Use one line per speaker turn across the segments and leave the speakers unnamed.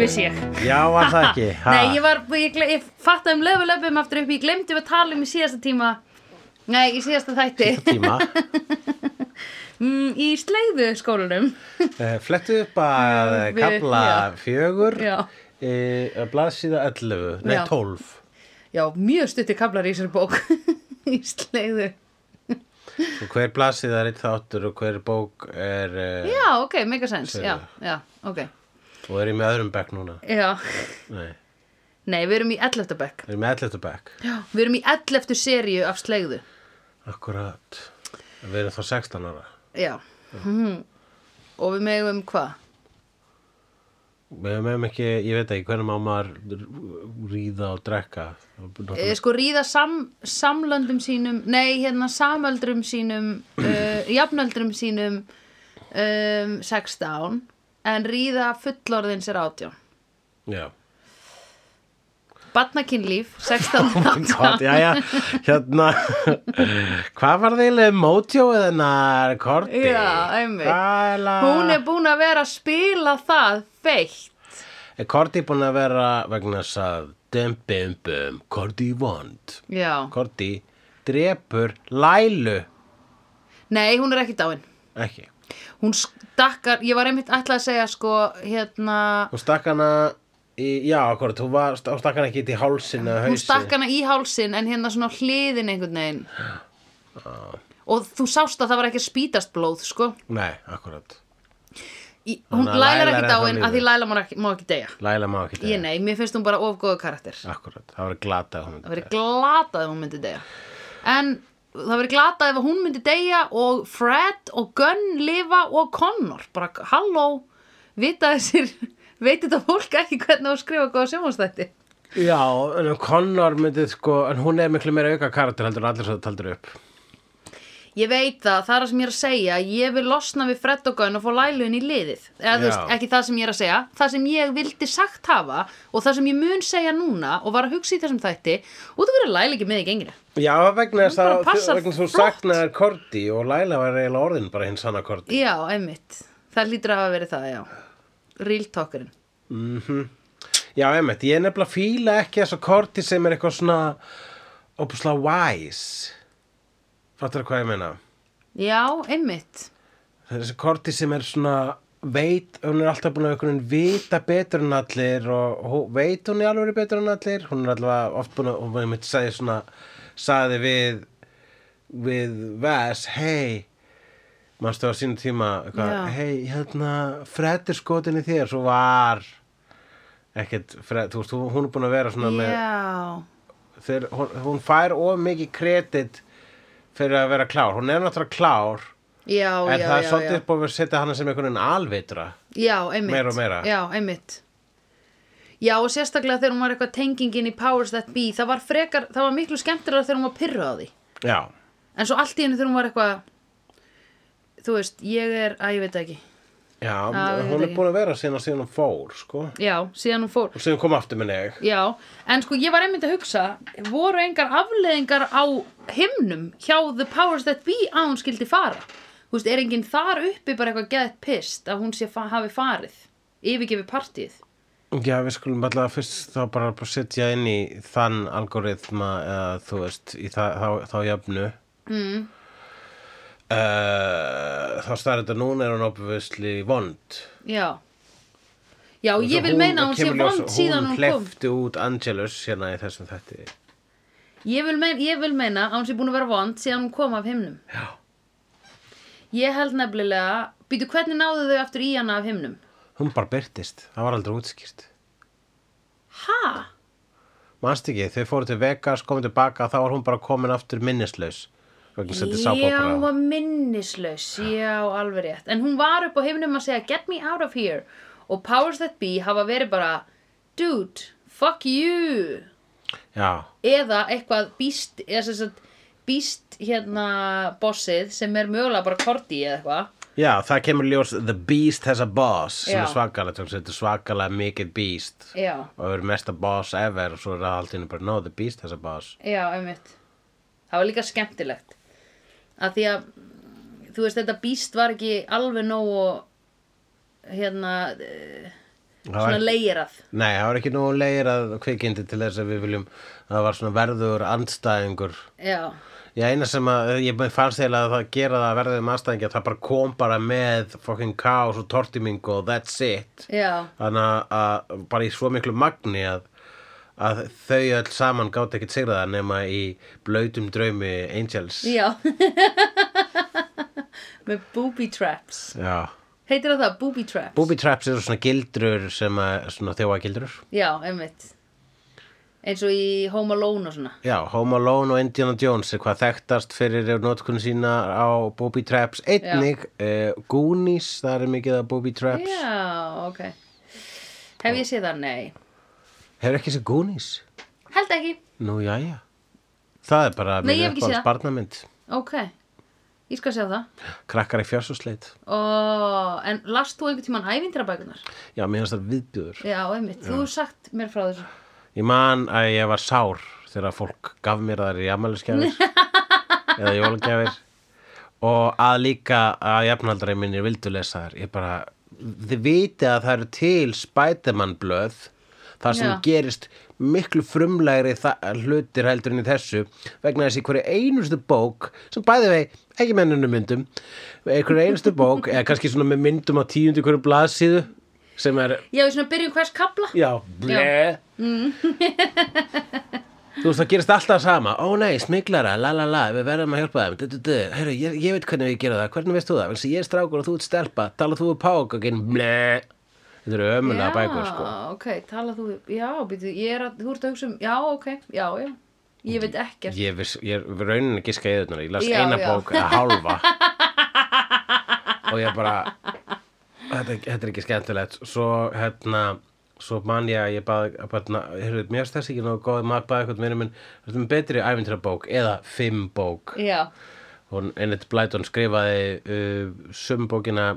vissi ég
Já, var það ekki ha.
Nei, ég var, ég, gle- ég fattaði um löfu löfum aftur upp Ég glemdi að tala um í síðasta tíma Nei, í síðasta þætti
tíma
mm, Í sleiðu skólanum
uh, Flettu upp að
Við-
kabla
já.
fjögur
Já.
uh, blaðsíða 11, nei
Já.
12
Já, mjög stutti kablar í þessari bók Í sleiðu
og hver blaðsíða er eitt þáttur og hver bók er uh,
Já, ok, mega sens Já, já, ok
og er ég með öðrum bekk núna
Já,
nei,
nei, við erum í 11. bekk
er ég með 11. bekk
Já, við erum í 11. seríu af sleiðu
akkurat, við erum þá 16 ára
Já mm. Og við megum hvað?
við hefum ekki, ég veit ekki hvernig má maður ríða og drekka
Eh, sko ríða sam, samlöndum sínum nei hérna samöldrum sínum uh, jafnöldrum sínum um, 16 en ríða fullorðins er 18
já
Batnakinnlíf 16
God, já, já, hérna hvað var það eiginlega mótjóið hennar korti?
Já, einmitt.
Hvað er la-
hún er búin að vera að spila það feitt
Er Korti búin að vera vegna þess að dum bum bum, Korti vond
já.
Korti drepur Lælu
nei hún er ekki dáin
ekki,
hún stakkar, ég var einmitt ætla að segja sko hérna
hún stakk hana í, já, Korti, hún, var, hún stakk hana ekki í hálsin eða
hún
hausin
stakk hana í hálsin en hérna svona á hliðin einhvern veginn og þú sást að það var ekki að spýtast blóð sko
Nei, akkurat,
í, hún
Þannig
lælar
að Laila er
ekki
ennþá
dáin
lifir.
að því læla má ekki, má ekki deyja
Læla má ekki
ég nei, mér finnst hún bara of góða karakter það
Akkurat, það var glata hún
verið glatað ef hún myndi deyja en það verið glatað ef hún myndi deyja og Fred og Gunn lifa og Connor bara halló, vita þessir veit þetta fólk ekki hvernig á að skrifa góða sjónvastætti
Já, en Connor myndið sko, en hún er miklu meira auka karakter heldur en allir svo það taldur upp
Ég veit það, það er það sem ég er að segja Ég vil losna við Fred og Gunn og fá læluinn í liðið Eða þú
Já.
veist, ekki það sem ég er að segja Það sem ég vildi sagt hafa Og það sem ég mun segja núna Og var að hugsa í þessum þætti Út af hverju læl ekki með í genginu
Já, vegna þess
bara
að
passar
vegna þess að þú
flott.
saknaðir Korti og Laila var eiginlega orðin bara hins sanna Korti.
Já, einmitt Það lítur að hafa verið það, já Real talkerinn
Já, einmitt, ég er nefnilega fíla ekki þess að Korti sem er eitthvað svona opuslega wise. Fattar hvað ég meina?
Já, einmitt
Þessi Korti sem er svona veit, hún er alltaf búin að einhvern veginn vita betur en allir og hún, veit hún í alveg betur en allir. Hún er allavega oft búin að, hún var einmitt sagði svona, sagði við, við Vess, hei, mannstu á sínu tíma
Já.
eitthvað, hei, hérna Fred er skotin í þér, svo var ekkert, Fred, þú veist hún- hún er búin að vera svona
Já,
með þeir, hún, hún fær of mikið kredit fyrir að vera klár hún er náttúrulega klár
já, já,
en það er
já,
svolítið
já.
upp á að setja hana sem einhvern veginn alvitra
Já, einmitt.
Meira og meira.
Já, einmitt. Já, og sérstaklega þegar hún var eitthvað tengingin í Powers That Be, það var frekar, það var miklu skemmtilega þegar hún var pyrruð á því.
já,
En svo allt í henni þegar hún var eitthvað, þú veist, ég er, að ég veit það ekki.
já
ég veit
hún er
ekki.
búin að vera síðan síðan hún fór sko,
Já, síðan hún fór.
og síðan kom aftur með neg
Já, en sko ég var einmitt að hugsa, voru engar afleðingar á himnum hjá The Powers That Be að hún skildi fara? Þú veist, er enginn þar uppi bara eitthvað geðt pist að hún sé fa hafi farið, yfirgefið partíið?
já, við skulum alltaf fyrst þá bara bara setja inn í þann algoritma eða þú veist, í það, þá, þá jafnu
Mm.
Uh, þá starf þetta núna er hún opvisli vond
Já Já, ég vil meina að hún sé vond síðan hún kom
hlefti út Angelus hérna í þessum þætti
ég vil, meina, ég vil meina að hún sé búin að vera vond síðan hún kom af himnum
Já.
Ég held nefnilega Býtu, hvernig náðu þau aftur í hana af himnum?
hún bara byrtist, það var aldrei útskýrt
Ha?
manst ekki, þau fóru til Vegas komið tilbaka, þá var hún bara komin aftur minnislaus vegna sem þetta sá
Já, hún
bara
var minnislaus Já, alveg rétt En hún var upp á himnum að segja Get me out of here Og powers that be hafa verið bara Dude, fuck you
já,
eða eitthvað býst eða sem sagt býst hérna bossið sem er mögulega bara korti eða eitthvað
já, það kemur ljós The Beast has a boss sem
Já.
er svakalega, þetta er svakalega mikið Beast
já,
og er mesta boss ever og svo er það allt inni bara, no, The Beast has a boss
já, einmitt það var líka skemmtilegt að því að þú veist þetta býst var ekki alveg nógu hérna eh,
var
svona
ekki-
leirað
Nei, það var ekki nógu leir að kvikindi til þess að við viljum að það var svona verður andstæðingur.
já,
Ég eina sem að ég bara fannst eiginlega að það gera það að verðum andstæðingi að það bara kom bara með fucking kaos og tortimingu og that's it.
já,
Þannig að, að bara í svo miklu magni að, að þau öll saman gátt ekkit sigraða nema í blautum draumi Angels.
já með booby traps
Já.
heitir það það, booby traps
Booby traps eru svona gildrur sem að, svona þjóa gildrur.
já, einmitt eins og í Home Alone og svona
Já, Home Alone og Indiana Jones er hvað þekktast fyrir notkunn sína á Booby Traps einnig, uh, Goonies, það er mikið að Booby Traps
já, ok hef ég séð það? Nei,
Hefur ekki sér Goonies?
held ekki
Nú, jæja Það er bara
Nei, ég hef ekki séð það.
barnamynd
ok, ég skal sjá það
Krakkar í fjársúsleit
og, en last þú einhvern tímann ævindrabækunar?
Já, mér finnst það viðbjöður
já, einmitt, þú hefur sagt mér frá þessu
Ég man að ég var sár þegar fólk gaf mér þar í amælisgjafir eða jólagjafir og að líka að jafnaldrei minni vildu lesa þær ég bara, þið viti að það eru til Spiderman blöð þar sem
Já.
gerist miklu frumlegri þa- hlutir heldur en í þessu vegna þess í hverju einustu bók sem bæði vei, ekki mennunum myndum einhverju einustu bók eða kannski svona með myndum á tíundu hverju blaðsíðu sem er
já, í svona byrjun hvers kabla
Já, ble Mm. Þú veist, það gerist alltaf sama Ó nei, smiklara, la la la, við verðum að hjálpa þeim du, du, du. Heru, ég, ég veit hvernig við gera það, hvernig veist þú það Þannig að ég er strákur og þú ert stelpa Tala þú við pákokinn, ble Þetta eru ömulega bækur, sko
ok, tala þú, já, býtu, ég er að, þú ert að hugsa um, já, ok, já, já, ég veit ekkert.
Ég, viss, ég er raunin að giska eðunar Ég las
Já,
eina
já.
bók, eða hálfa Og ég bara þetta, er- þetta er ekki skemmtilegt Svo, hérna Svo man ég að ég bað hérna, heyrðu, Mér finnst þess ekki nóg góð maður bað eitthvað mér minn, þetta er betri æfintrabók eða fimm bók
Já,
hún Ennett Blyton skrifaði uh, sömbókina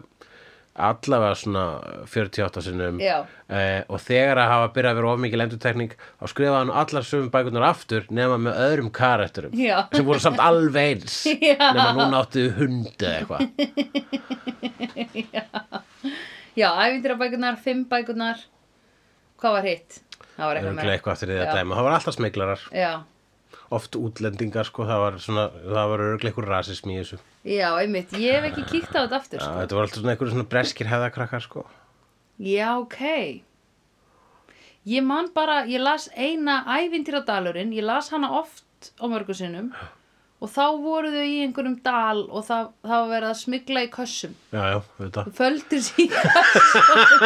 allavega svona 48 sinnum
Já.
Eh, og þegar að hafa byrjað að vera of mikil endurtekning þá skrifaði hann allar sömu bækurnar aftur nema með öðrum karakterum
Já.
sem voru samt alveg eins
Já.
nema núna áttu hundu eitthvað
já, ævindurabækunar, fimm bækunar, hvað var hitt? Það var eitthvað
Örugglega
meira.
eitthvað eftir því að
Já.
dæma það var alltaf smiklarar,
Já,
oft útlendingar sko, það var, svona, það var örugglega eitthvað rasism í þessu Já,
já, einmitt, ég hef ekki kíkt á þetta aftur, sko.
þetta var alltaf svona eitthvað svona breskir hefðakrakkar sko.
Já, ok. Ég man bara, ég las eina ævindiradalurinn, ég las hana oft á mörgu sinnum og þá voru þau í einhverjum dal og það, það var verið að smygla í kössum.
Já, já, þetta
Földu sig í kössunum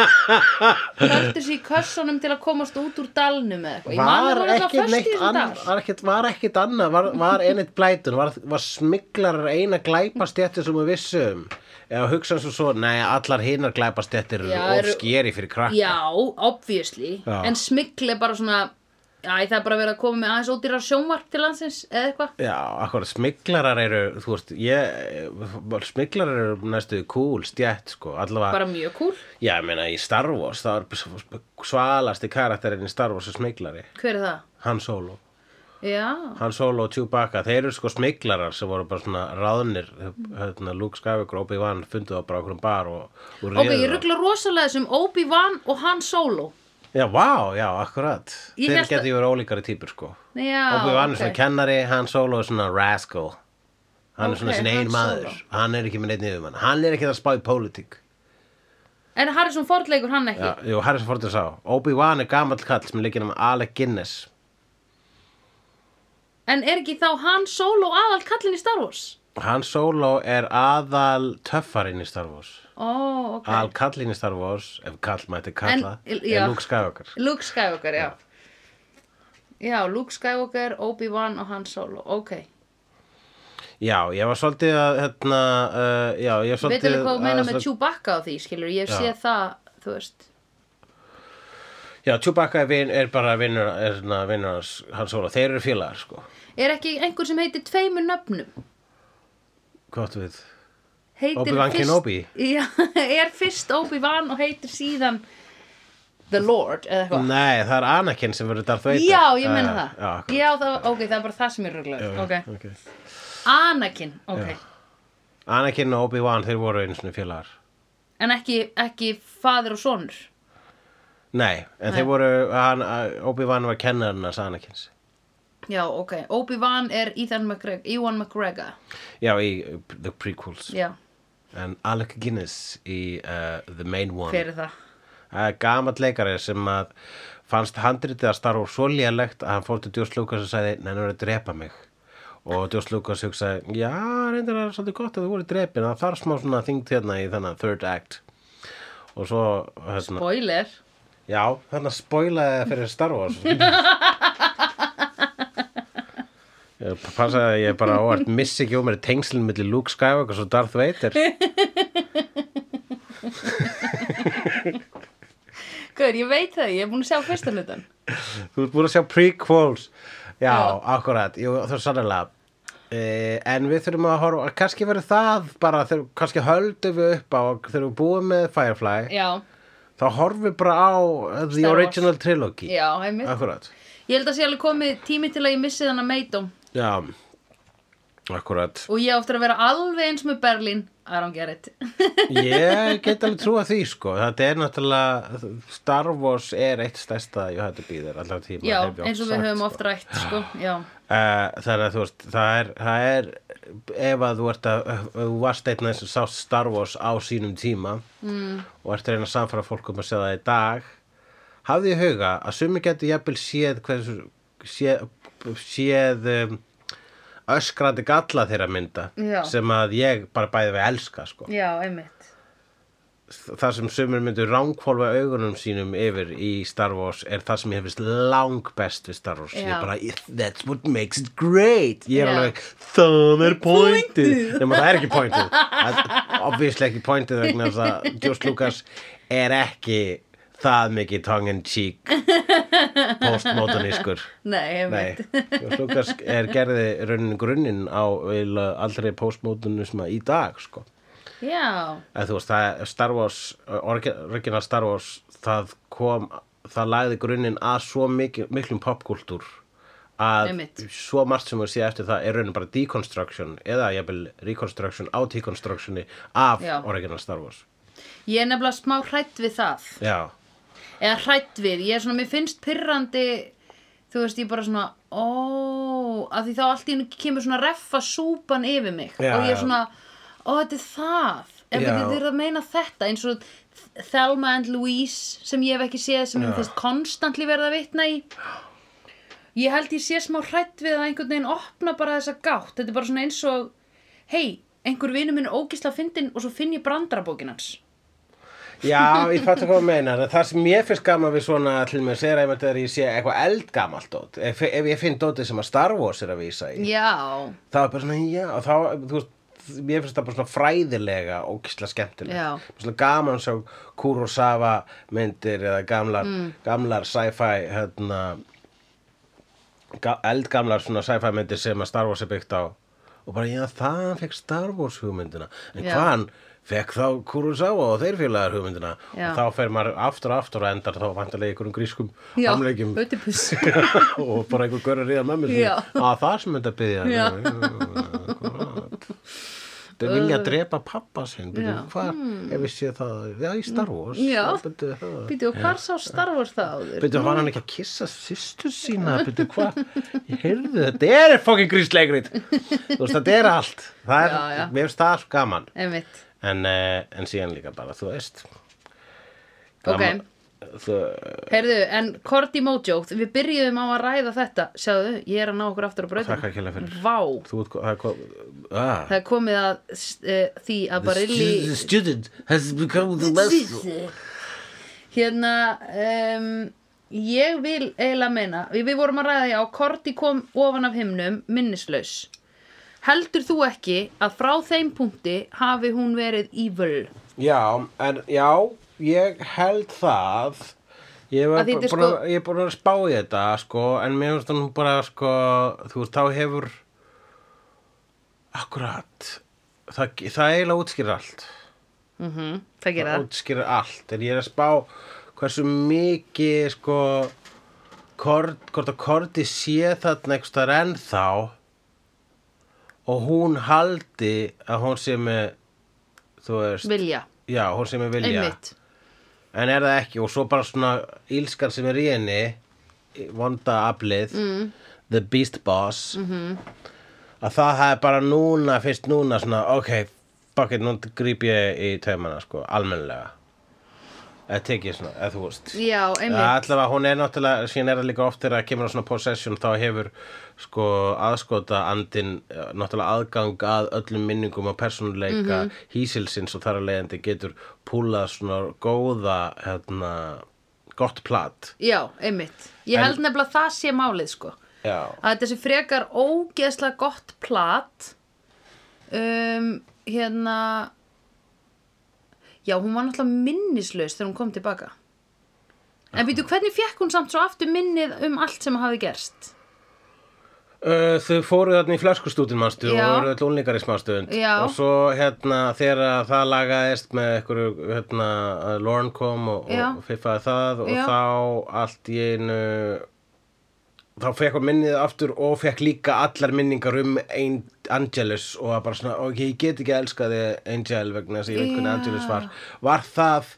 Földu sig í kössunum til að komast út úr dalnum eða eitthvað Ég man að
var
voru
ekki
eitthvað föst í
neitt
þessum
annað
dal
var ekkit, var ekkit annað, var, var einnig blætun var, var smiklarar eina glæpastjættir sem við vissum eða hugsa svo svo, nei, allar hinar glæpastjættir
Já,
eru of
eru-
skeri fyrir krakka
Já, obviously
Já.
En smygl er bara svona Æ, það er bara verið að koma með aðeins ódýra sjónvarp til landsins eða eitthvað
Já, akkur, smiklarar eru, þú veist, ég, smiklarar eru næstu cool stjætt, sko, allavega,
Bara mjög kúl
já, ég meina, í Star Wars, það er svalasti karakterinn í Star Wars er smiklari,
Hver er það?
Han Solo.
Já,
Han Solo og Chewbacca, þeir eru sko smiklarar sem voru bara svona ráðnir hérna, Luke Skywalker og Obi-Wan funduð á bara okkur um bar og, og
ok,
réðu
ég
þá.
ruggla rosalega þessum Obi-Wan og Han Solo
Já, vá, já, akkurat
Ég
Þeir
hélt að-
geti verið ólíkari típur sko
Já,
Obi-Wan er
ok.
svona kennari, Han Solo er svona rascal Hann er
Ok,
svona sin
Han
einn maður
Solo.
Hann er ekki með neitt niður mann Hann er ekki að spá í pólitík
En Harrison Ford leikur hann ekki
Já, jú, Harrison Ford er sá Obi-Wan er gamall kall sem leikir um Alec Guinness
En er ekki þá Han Solo aðal kallinn í Star Wars?
Han Solo er aðal töffarinn í Star Wars
Ó, ok
Al kallin í Star Wars, ef kall mætti kalla,
En- já.
er Luke Skywalker.
Luke Skywalker, já. Já, Luke Skywalker, Obi-Wan og Han Solo, ok.
Já, ég var svolítið að, hérna, uh, já, ég var svolítið
Veitum við hvað þú meina
að-
með Chewbacca á því, skilur, ég hef
Já.
séð það, þú veist.
Já, Chewbacca er, vin, er bara vinnur, er svona vinnur hans, hans Solo, þeir eru félagar, sko.
Er ekki einhver sem heitir tveimur nöfnum?
Hvað áttu við?
Heitir
Obi-Wan
fyrst-
Kenobi?
Já, er fyrst Obi-Wan og heitir síðan The Lord, eða eitthvað.
Nei, það er Anakin sem verður Darth Vader.
Já, ég meina
Eh,
það.
Já, akkurat.
já, það, ok, það er bara það sem ég rugglaður. Ok,
ok.
Anakin, ok.
Anakin og Obi-Wan, þeir voru einu svona félagar.
En ekki, ekki fadir og sonur.
Nei, en þeir voru, hann, eh, Obi-Wan var kennarinn að Sanakins.
Já, ok. Obi-Wan er Ethan McGregor, Ewan McGregor.
Já, í uh, The Prequels.
Já,
En Alec Guinness í uh, The Main One.
fyrir það.
Það er gamall leikari sem að fannst handritið að starfa svo lélegt að hann fór til Djós Lukas og sagði, nei, nú er að drepa mig. Og Djós Lukas hugsaði, já, reyndir að það er svolítið gott að þú voru drepin, það þarf smá svona þingt hérna í þennan third act. Og svo, hérna,
Spoiler.
já, þarna spoilaði það fyrir Star Wars. Ég passaði að ég bara óvart missi ekki um mér tengslinn millir Luke Skywalker og Darth Vader.
Guður, ég veit það, ég er búin að sjá fyrsta hlutan.
Þú ert búin að sjá prequels Já,
Já.
akkurat, jú, það er sannlega Uh, en við þurfum að horfa kannski verður það bara, þegar, kannski höldum við upp á þegar við búum með Firefly
Já,
þá horfum við bara á uh, The
Star Wars.
Original Trilogy
já, heimitt.
akkurat
Ég held að sé alveg komið tími til að ég missi þannig meitum
Já, akkurat
og ég á eftir að vera alveg eins með Berlín. I don't get it.
Ég get alveg trúa því sko þetta er náttúrulega Star Wars er eitt stærsta jóhættubíðir allar tíma
já,
hef ég oft
eins og við
sagt,
höfum
sko.
oft rætt, sko. Já,
Uh, það er að þú veist, það er, það er ef að þú ert að ef þú varst einn aðeins og sást Star Wars á sínum tíma mm. og ert að reyna að samfara fólk um að sjá það í dag hafðu í huga að sumi getur jafnvel séð hversu, séð, séð um, öskrandi galla þeirra mynda
Já.
sem að ég bara bæði við elska sko.
já, heimitt.
það sem sumir myndur ránkvolfa augunum sínum yfir í Star Wars er það sem ég hefist lang best við Star Wars ég
Já.
bara, that's what makes it great ég er
Já.
alveg, það er pointið nema það er ekki pointið það er obviously ekki pointið vegna þess að George Lucas er ekki það mikið tongue in cheek postmodernískur
Nei,
Nei,
heimitt.
George Lucas er gerði raunin grunninn á eiginlega allri postmodernisma í dag sko
Já,
En þú veist, það er Star Wars, orgi- original Star Wars, það kom, það lagði grunninn að svo mikil, miklum popkúltúr að
Einmitt.
svo margt sem við séð eftir það er raunin bara deconstruction eða jafnvel reconstruction á deconstructioni af
Já.
original Star Wars.
ég er nefnilega smá hrætt við það.
Já,
eða hrætt við, ég er svona, mér finnst pyrrandi, þú veist, ég bara svona, ó, að því þá allt í hennu kemur svona reffa súpan yfir mig
Já,
og ég er
já.
svona, ó, þetta er það, ef
Já.
þið eru að meina þetta, eins og Thelma and Louise sem ég hef ekki séð sem ég finnst konstantli verða að vitna í. Ég held ég sé smá hrætt við að einhvern veginn opna bara þessa gátt, þetta er bara svona eins og, hei, einhver vinur minn er ógisla fyndin og svo finn ég brandarabókin hans.
Já, ég fattu hvað að meina Það sem ég finnst gaman við svona til mér segir að þegar ég sé eitthvað eldgamalt dót ef, ef ég finn dótið sem að Star Wars er að vísa í
Já,
það er bara svona, já, og þá, þú veist mér finnst það bara svona fræðilega og kísla
Já.
skemmtilega, svona gaman að sjá Kurosawa myndir eða gamlar,
Mm.
gamlar sci-fi hérna ga- eldgamlar svona sci-fi myndir sem að Star Wars er byggt á og bara, já, það fekk Star Wars hugmyndina en
Já.
hvaðan fekk þá Kurosawa og þeir félagar hugmyndina
Já.
og þá fer maður aftur og aftur og endar þá vantarlega ykkur um grískum
já,
hamleikjum
ödipus.
og bara einhver görður ríða með mér
Já.
að það sem þetta byggja
Já.
þau vilja drepa pappa sinn byrju,
Já. Hmm.
hvað ef ég sé það já í Star Wars
Já.
byrju, það-
Býtu, og hvar sá Star Wars það áður?
byrju var hann ekki að kissa sýstu sína byrju hvað ég heyrðu þetta er fokkin gríslegrið þú veist þetta er allt það er,
Já, já.
mér finnst það svo gaman
Einmitt.
en, eh, en síðan líka bara þú veist
Ok.
gaman- þú,
Heyrðu, en Korti Mojo, við byrjuðum á að ræða þetta. Sjáðu, ég er að ná okkur aftur á brautum.
Takk hérlega fyrir.
Vá,
þú ert ko- það er kom ah.
það er komið að uh, því að Barilli...
The student has become the master.
Hérna, um, ég vil eiginlega meina, við, við vorum að ræða því á Korti kom ofan af himnum minnislaus. Heldur þú ekki að frá þeim punkti hafi hún verið evil?
Já, en já, ég held það. Ég var
Að því þetta er
búin að,
sko-
ég er búin að spá í þetta, sko, en mér finnst hún bara, sko, þú veist, þá hefur, akkurat, það, það eiginlega útskýrir allt.
Mm -hmm. Það gera
Það
það.
útskýrir allt, en ég er að spá hversu mikið, sko, kord, hvort að Korti sé þarna einhvers staðar ennþá og hún haldi að hún sé með, þú veist,
Vilja,
Já, hún sem er vilja
einmitt.
en er það ekki og svo bara svona ílskan sem er í henni vonda aflið mm. the beast boss -hmm. að það hefði bara núna fyrst núna svona ok, fuck it, nú gríp ég í taumana sko, almennilega eða tekið svona, eða þú veist
Já, einmitt.
Ja, allavega hún er náttúrulega, síðan er það líka oft þegar að kemur á svona possession þá hefur sko aðskota andin náttúrulega aðgang að öllum minningum og persónuleika hísilsins og þar að leiðandi getur púlað svona góða hérna, gott plat
já, einmitt ég
En-
held nefnilega að það sé málið sko
Já,
að þetta sé frekar ógeðslega gott plat um, hérna já, hún var náttúrulega minnislaus þegar hún kom tilbaka en býtu, hvernig fekk hún samt svo aftur minnið um allt sem hafi gerst
Uh, þau fóru þarna í flaskustútin manstu og
Já.
voru öll unlingar í smástund
Já.
og svo hérna þegar að það lagaðist með einhverju hérna að Lauren kom og,
Já.
og fiffaði það og
Já.
þá allt í einu þá fekk hún minnið aftur og fekk líka allar minningar um ein, Angelus og að bara svona ok, ég get ekki að elska þig Angel vegna þess að ég veit hvernig
Já.
Angelus var var það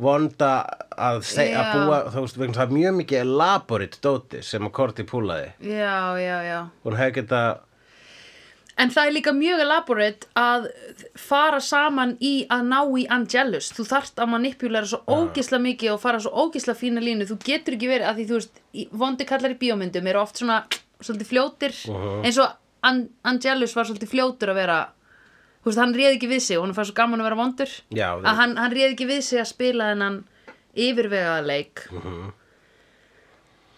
vonda að, seg, að
Já.
búa þú veist vegna það er mjög mikið elaborate dóti sem að Korti púlaði
já, já, já
hún hefði geta
En það er líka mjög elaborate að fara saman í að ná í Angelus. Þú þarft að manipulera svo ógisla mikið og fara svo ógisla fína línu. Þú getur ekki verið að því þú veist, í- vondi kallar í bíómyndum eru oft svona svolítið fljótir eins og An Angelus var svolítið fljótur að vera þú veist, hann réð ekki við sig og hann fær svo gaman að vera vondur
Já,
að hann, hann réð ekki við sig að spila þennan yfirvegaða leik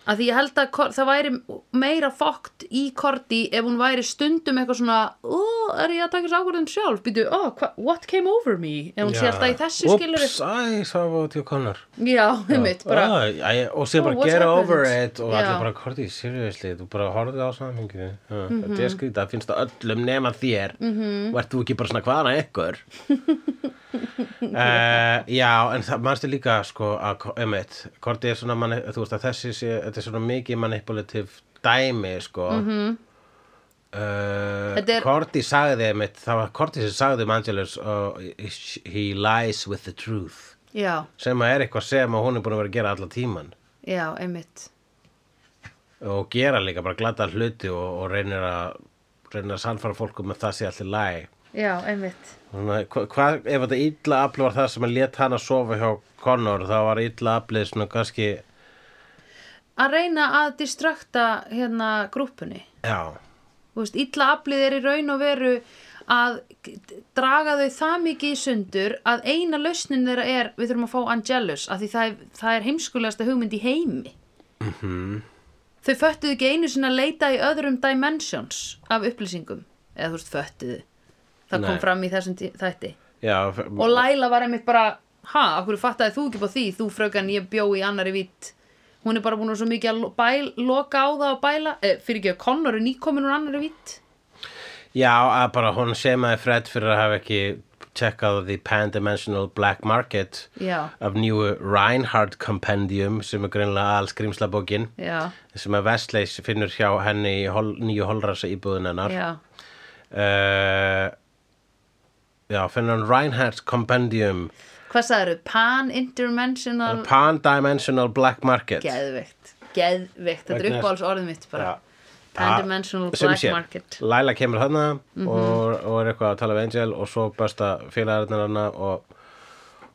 að því ég held að Cor- það væri meira fókt í Korti ef hún væri stundum eitthvað svona ó, er ég að taka þessu ákvörðum sjálf býtu, ó, hva, what came over me ef hún sé alltaf í þessu skilur
Ups, æ, sá var til konar
já, einmitt, bara
Ah. Æ, og sé
Oh,
bara
what's
get
happened?
over it og
Já.
allir bara, Korti, seriously, þú bara horfið á samhengi Þetta
Mhm.
er skrýta, það finnst það öllum nema þér mm -hmm. og ert þú ekki bara svona hvaðan að ykkur uh, Já, en það mannstu líka sko að, Ko- einmitt, Korti er svona mani, þú veist að þessi sé, þetta er svona mikið manipulativ dæmi sko mm -hmm.
Þetta
Uh,
Mhm. er-
Korti sagði einmitt, það var Korti sem sagði um Angelus uh, he lies with the truth
já,
sem að er eitthvað sem að hún er búin að vera að gera alla tíman
já, einmitt
og gera líka bara glata hluti og, og reynir að reynir að sannfara fólku með það sé allir læg
já, einmitt
Svona, hva, hvað- ef þetta illa afli var það sem að lét hann að sofa hjá Connor þá var illa aflið svona kannski
að reyna að distrakta hérna grúppunni
já,
Þú veist, illa aflið er í raun og veru að g- draga þau það mikið í sundur að eina lausnin þeirra er við þurfum að fá Angelus af því það er, það er heimskulegasta hugmynd í heimi. Mm -hmm. Þau föttuðu ekki einu sinna að leita í öðrum dimensions af upplýsingum eða þú veist föttuðu. Það
Nei.
kom fram í þessum tí- þætti.
já
Og Laila var einmitt bara, ha, af hverju fattaði þú ekki på því, þú frökan ég bjó í annari vitt. Hún er bara búin að vera svo mikið að lo- bæl, loka á það og bæla, eh, fyrir ekki að Connor er nýkomin úr annari vitt.
já, að bara hún semaði Fred fyrir að hafa ekki checkað the pan-dimensional black market
Já.
af nýju Reinhardt Compendium sem er greinlega all skrýmsla bókin
Já,
sem að Vestleys finnur hjá henni í hol, nýju holrasa íbúðunennar
já,
uh, Já, finnur hann Reinhardt Compendium
hvað sagðið Pan-interdimensional
Pan-Dimensional Black Market
Geðveikt, geðveikt Þetta er
Vegna þess-
uppáhalds orðið mitt bara
Já.
Pan-dimensional
Sem
black
sé,
market Mhm.
Laila kemur hana og, og er eitthvað að tala við Angel og svo besta félagarnar hana og,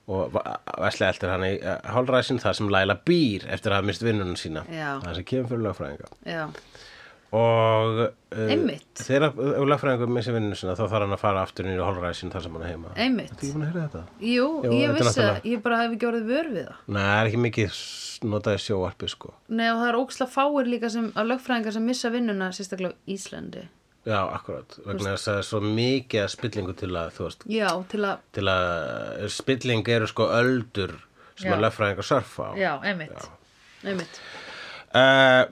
og Vestley eltir hann í uh, holræsin þar sem Laila býr eftir að hafa mist vinnunum sína
Já.
það sem kemur fyrir lögfræðinga
Já,
og uh,
Einmitt.
þegar uh, lögfræðingur missi vinnunum sína þá þarf hann að fara aftur nýra holræsin þar sem hann er heima
einmitt
Þetta ég búin að heyra þetta?
Jú,
Jú, þetta
ég
er
vissi
náttúrulega-
það Ég bara hef ekki orðið vör við það
Nei, það er ekki mikið s- notað í sjóvarpi sko.
Nei, og það er óksla fáir líka sem að lögfræðingar sem missa vinnuna sérstaklega á Íslandi
Já, akkurat, vegna þess að það er svo mikið af spillingu til að, þú veist,
Já, til að,
til að spilling eru sko öldur sem
Já.
að löffræðingar surfa á.
já, einmitt Einmitt
Uh,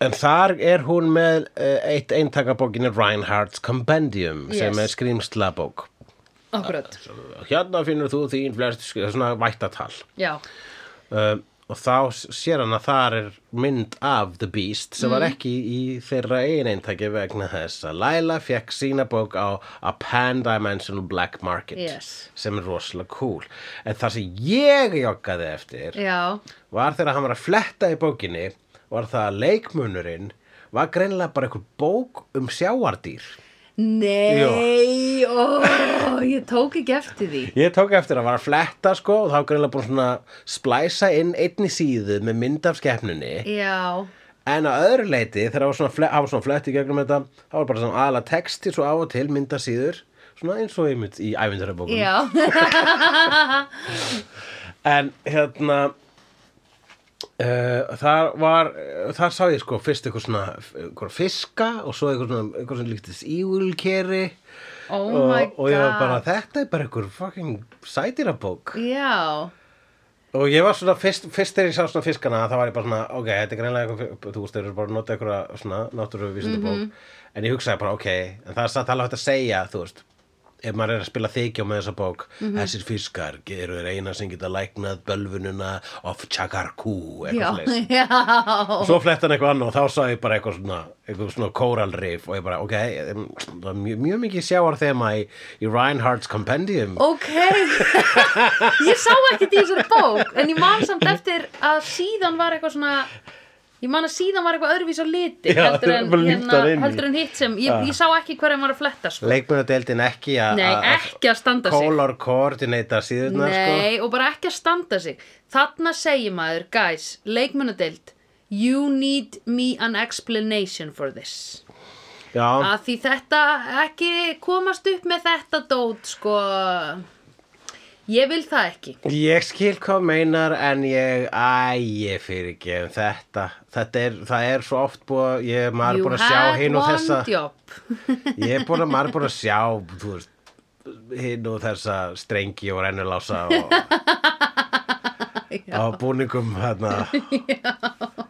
en þar er hún með uh, eitt eintakabókinni Reinhardt's Compendium sem
Yes.
er skrýmslabók.
Akkurat,
Hérna finnur þú þín flest sk- svona vættatal.
já
Uh, og þá s- sér hann að þar er mynd af The Beast sem var ekki í þeirra eigin eintæki vegna þess að Laila fekk sína bók á A Pan-Dimensional Black Market
Yes.
sem er rosalega cool en það sem ég joggaði eftir
Já,
var þegar hann var að fletta í bókinni var það að leikmunurinn var greinilega bara einhver bók um sjáardýr
nei, ó, ég tók ekki eftir því.
Ég tók eftir að hann var að fletta sko og þá greinlega búin svona splæsa inn einni síðu með mynd af skepnunni
Já,
En að öðru leiti, þegar það var svona, fle hafa svona flett í gegnum þetta, það var bara svona aðla texti svo á og til myndasíður, svona eins og einmitt í ævindurabókum.
já,
En hérna, uh, þar var, uh, þar sá ég sko fyrst eitthvað svona, eitthvað fiska og svo eitthvað svona, eitthvað svona líktist ígulkeri
oh
og,
my god.
og ég var bara, þetta er bara eitthvað fucking sætirabók.
Já,
Og ég var svona, fyrst, fyrst þegar ég sá svona fiskana þá var ég bara svona, ok, þetta er greinlega eitthvað, þú veist, þeir eru bara að nota eitthvað svona náttúruvísindabók,
Mhm.
en ég hugsaði bara, ok en það er satt alveg hægt að segja, þú veist ef maður er að spila þykjá með þessa bók
Mhm.
þessir fiskar eru þeir eina sem geta læknað bölvununa of chakarkú,
já,
eitthvað slags
já.
og svo fletta hann eitthvað annað og þá sá ég bara eitthvað svona, eitthvað svona kóralrif og ég bara, ok, em, það er mjög, mjög mikið sjáar þema í, í Reinhardt's Compendium
Ok, ég sá ekkert í þessari bók en ég man samt eftir að síðan var eitthvað svona ég man að síðan var eitthvað öðruvís á liti
Já,
heldur, en, hérna-
bara límt þar inn í.
heldur en hitt sem ég,
Ah.
ég sá ekki hverjum var að fletta sko.
leikmunadeildin ekki að
Nei,
að- að-
ekki að standa sig
color coordinator síðurnar Ah, sko.
Nei, og bara ekki að standa sig Þarna segir maður, guys, leikmunadeild You need me an explanation for this
Já,
að því þetta ekki komast upp með þetta dót sko ég vil það ekki
ég skil hvað þú meinar en ég, æ, ég fyrir ekki þetta, þetta er, það er svo oft búið, ég, maður er búin að sjá hinn og þessa,
job
ég er búin að, maður er búin að sjá, þú veist, hinn og þessa strengi og rennulása og, á búningum hérna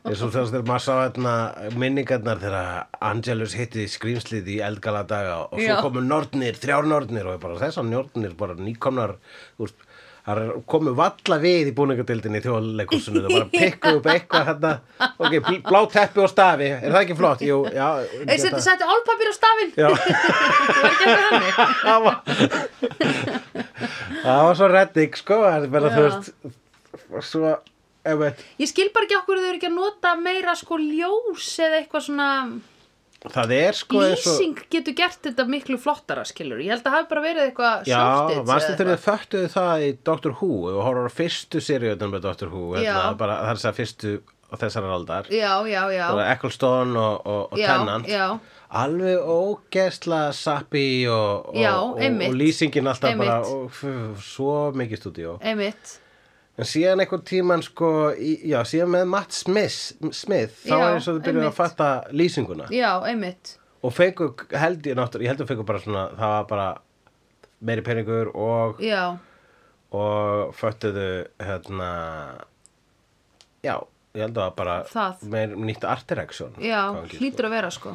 eins og þess að maður sá hérna minningarnar þegar Angelus hitti skrýmslið í eldgala daga og svo
Já.
komu nornir, þrjár nornir og ég bara þessar nornir bara nýkomnar úr Það komu valla við í búningadildinni í þjóðleikursinu, það var að pikka upp eitthvað hérna, ok, bl- blá teppi og stafi, er það ekki flott? Jú, já,
Ei,
geta-
settu, settu álpapir á stafinn
Já.
Var ekki eitthvað þannig?
það var það var svo reddig, sko, það er bara, þú
Já.
veist, svo, ef veit,
Ég skil bara ekki okkur þau eru ekki að nota meira sko ljós eða eitthvað svona
það er sko eins og...
lýsing getur gert þetta miklu flottara skilur Ég held að hafi bara verið eitthvað
Já,
softits
varstu
eða
þegar við föttuðu það í Doctor Who og horfður á fyrstu seríutan með Doctor Who hérna,
Já.
bara þar sem fyrstu á þessar aldar
eitthvað. Já, já, já
bara Ecclestone og, og, og
Já,
Tennant
já.
alveg ógeðsla sappi og, og,
Já,
og,
einmitt.
og lýsingin alltaf bara
Einmitt.
og, f, svo mikið stúdíó
Einmitt
en síðan einhvern tíman sko í, já, síðan með Matt Smith, Smith þá
Já,
er eins og þau byrjuðu
einmitt.
að fatta lýsinguna
Já, einmitt
og fengu held ég náttúrulega, ég held að fengu bara svona það var bara meiri peningur og
Já,
og föttuðu hérna já, ég held að það bara
Það.
meir nýtt art direction
já,
gangi,
hlýtur að vera sko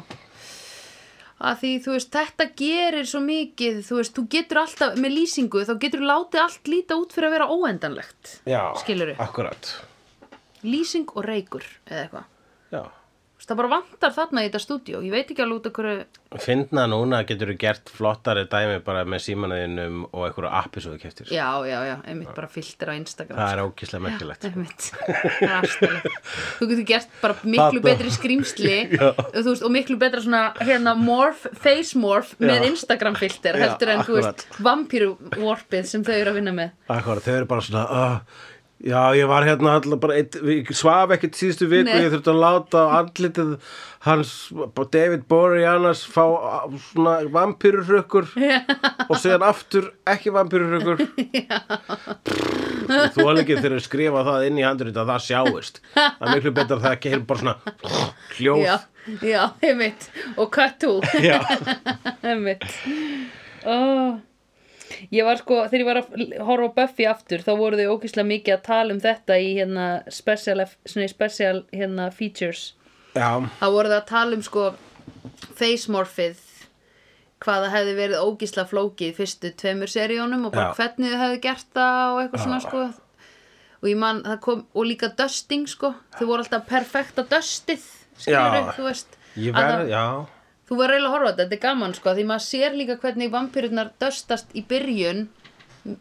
að því þú veist þetta gerir svo mikið þú veist, þú getur alltaf með lýsingu þá getur þú látið allt líta út fyrir að vera óendanlegt
sko. já,
skilurðu?
akkurat
lýsing og reykur eða eitthvað
já.
Þú veist, það bara vantar þarna í þetta stúdíó ég veit ekki alveg út af hverju
finna núna getur þú gert flottari dæmi bara með símanaðinum og einhverju appi svo þú keftir
já, já, já, einmitt bara filter á Instagram
það er ógislega merkilegt
Einmitt, það er aftalegt. þú getur gert bara miklu
Þarna.
betri skrýmsli
Já.
þú veist, og miklu betra svona hérna morph, face morph með
Já.
Instagram filter
Já,
heldur en þú veist, vampíru warpið sem þau eru að vinna með
akkurat, þau eru bara svona uh, já, ég var hérna allar bara eitt, ég svaf ekkert síðustu viku
Nei.
ég þurfti að láta andlitið hans David Bory annars fá uh, svona vampýrurrökkur og síðan aftur ekki vampýrurrökkur þú alveg ekki þegar að skrifa það inn í handurinn að það sjáist það er miklu betra að það ekki hefur bara svona hljóð
já, já, einmitt og cut to,
Já.
einmitt oh. ég var sko, þegar ég var að horfa á Buffy aftur, þá voru þau ókýslega mikið að tala um þetta í hérna special, svona í special hérna features
já,
þá voru það að tala um sko face morphið hvað það hefði verið ógísla flókið í fyrstu tveimur seríunum og bara
Já.
hvernig þau hefði gert það og eitthvað svona sko og og ég man, það kom, og líka dusting sko, þau voru alltaf perfekta dustið skilur,
Já.
þú veist
Ég
að
verð,
það-
já
þú verður eiginlega að horfa á þetta, þetta er gaman sko því maður sér líka hvernig vampýrurnar döstast í byrjun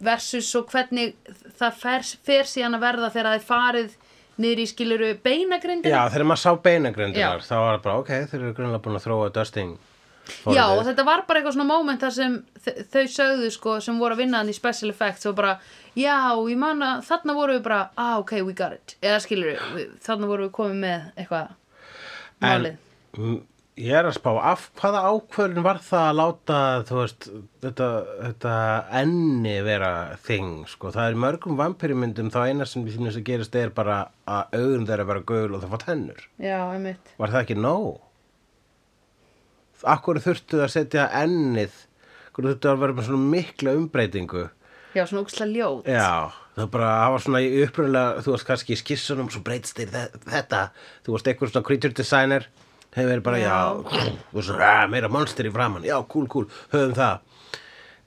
versus svo hvernig það fer, fer síðan að verða þegar það er farið niður í skiluru beinagrindina
Já, þegar maður sá beinagrindunar
Já.
þá var það bara, ok, þeir eru grunlega búin að þróa dusting
Já, og
forðið.
þetta var bara eitthvað svona moment þar sem þ- þau sögðu sko sem voru að vinna hann í special effects og bara, já, ég man að þarna voru við bara, ah, ok, we got it eða skilur, við, þarna voru við komið með eitthvað málið
Mm, Ég er að spá, af hvaða ákvörðin var það að láta, þú veist, þetta, þetta enni vera þing, sko. Það er í mörgum vampirumyndum þá eina sem við þínum sem gerist er bara að augun þeirra vera gul og það fá tennur.
Já, einmitt
Var það ekki nóg? Akkur þurftu að setja ennið, akkur þurftu að vera með svona mikla umbreytingu.
Já, svona úksla ljót
Já, það bara hafa svona í upprunlega, þú veist kannski í skissunum svo breytst þér þe- þetta, þú veist eitthvað svona creature designer, hefur verið bara já, þú veist, "Ah, meira monster í framann, já, cool, cool, höfum það.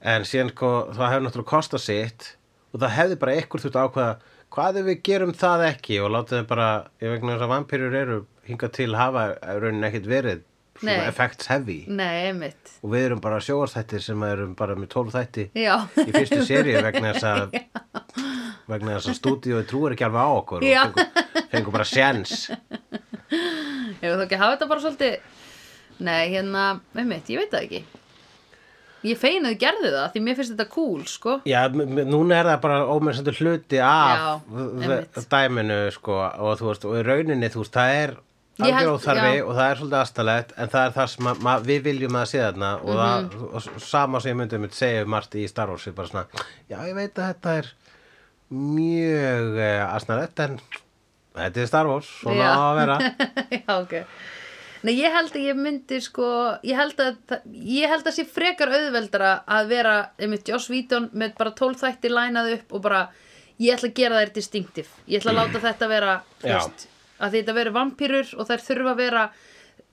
En síðan sko, það hefur náttúrulega kostað sitt og það hefði bara eitthvað þurft að ákveða, hvað ef við gerum það ekki og láta þau bara, ég vegna þess að vampýrur eru hingað til hafa raunin ekkert verið svona
Nei.
effects heavy
Nei, einmitt
og við erum bara sjóarstættir sem erum bara með 12 þætti
Já,
í fyrstu seríu vegna þess að vegna þess að stúdíói trúir ekki alveg á okkur
Já.
og fengur, fengur bara sjens
Ef þú ekki hafa þetta bara svolítið Nei, hérna, einmitt, ég veit það ekki Ég fein að þið gerðu það því mér finnst þetta cool, sko
já, m- m- núna er það bara ómennsendur hluti af
Já,
v-
einmitt.
v- dæminu sko og þú veist, og í rauninni þú veist, það er
Ég
algjör
held-
óþarfi
já.
og það er svolítið astalegt en það er það sem að, ma- við viljum að sé þarna og,
Mhm.
það, og s- sama sem ég myndi um segja um margt í Star Wars er bara svona, já ég veit að þetta er mjög uh, astalegt en þetta er Star Wars,
Já.
svona á að vera
Já, ok Nei, ég held að ég myndi, sko Ég held að, það- ég held að sé frekar auðveldara að vera, einmitt, Joss Víton með bara tólþætti lænað upp og bara, ég ætla að gera þær distinctive Ég ætla að láta þetta vera, þú
Já.
veist að því þetta veri vampýrur og þær þurfa að vera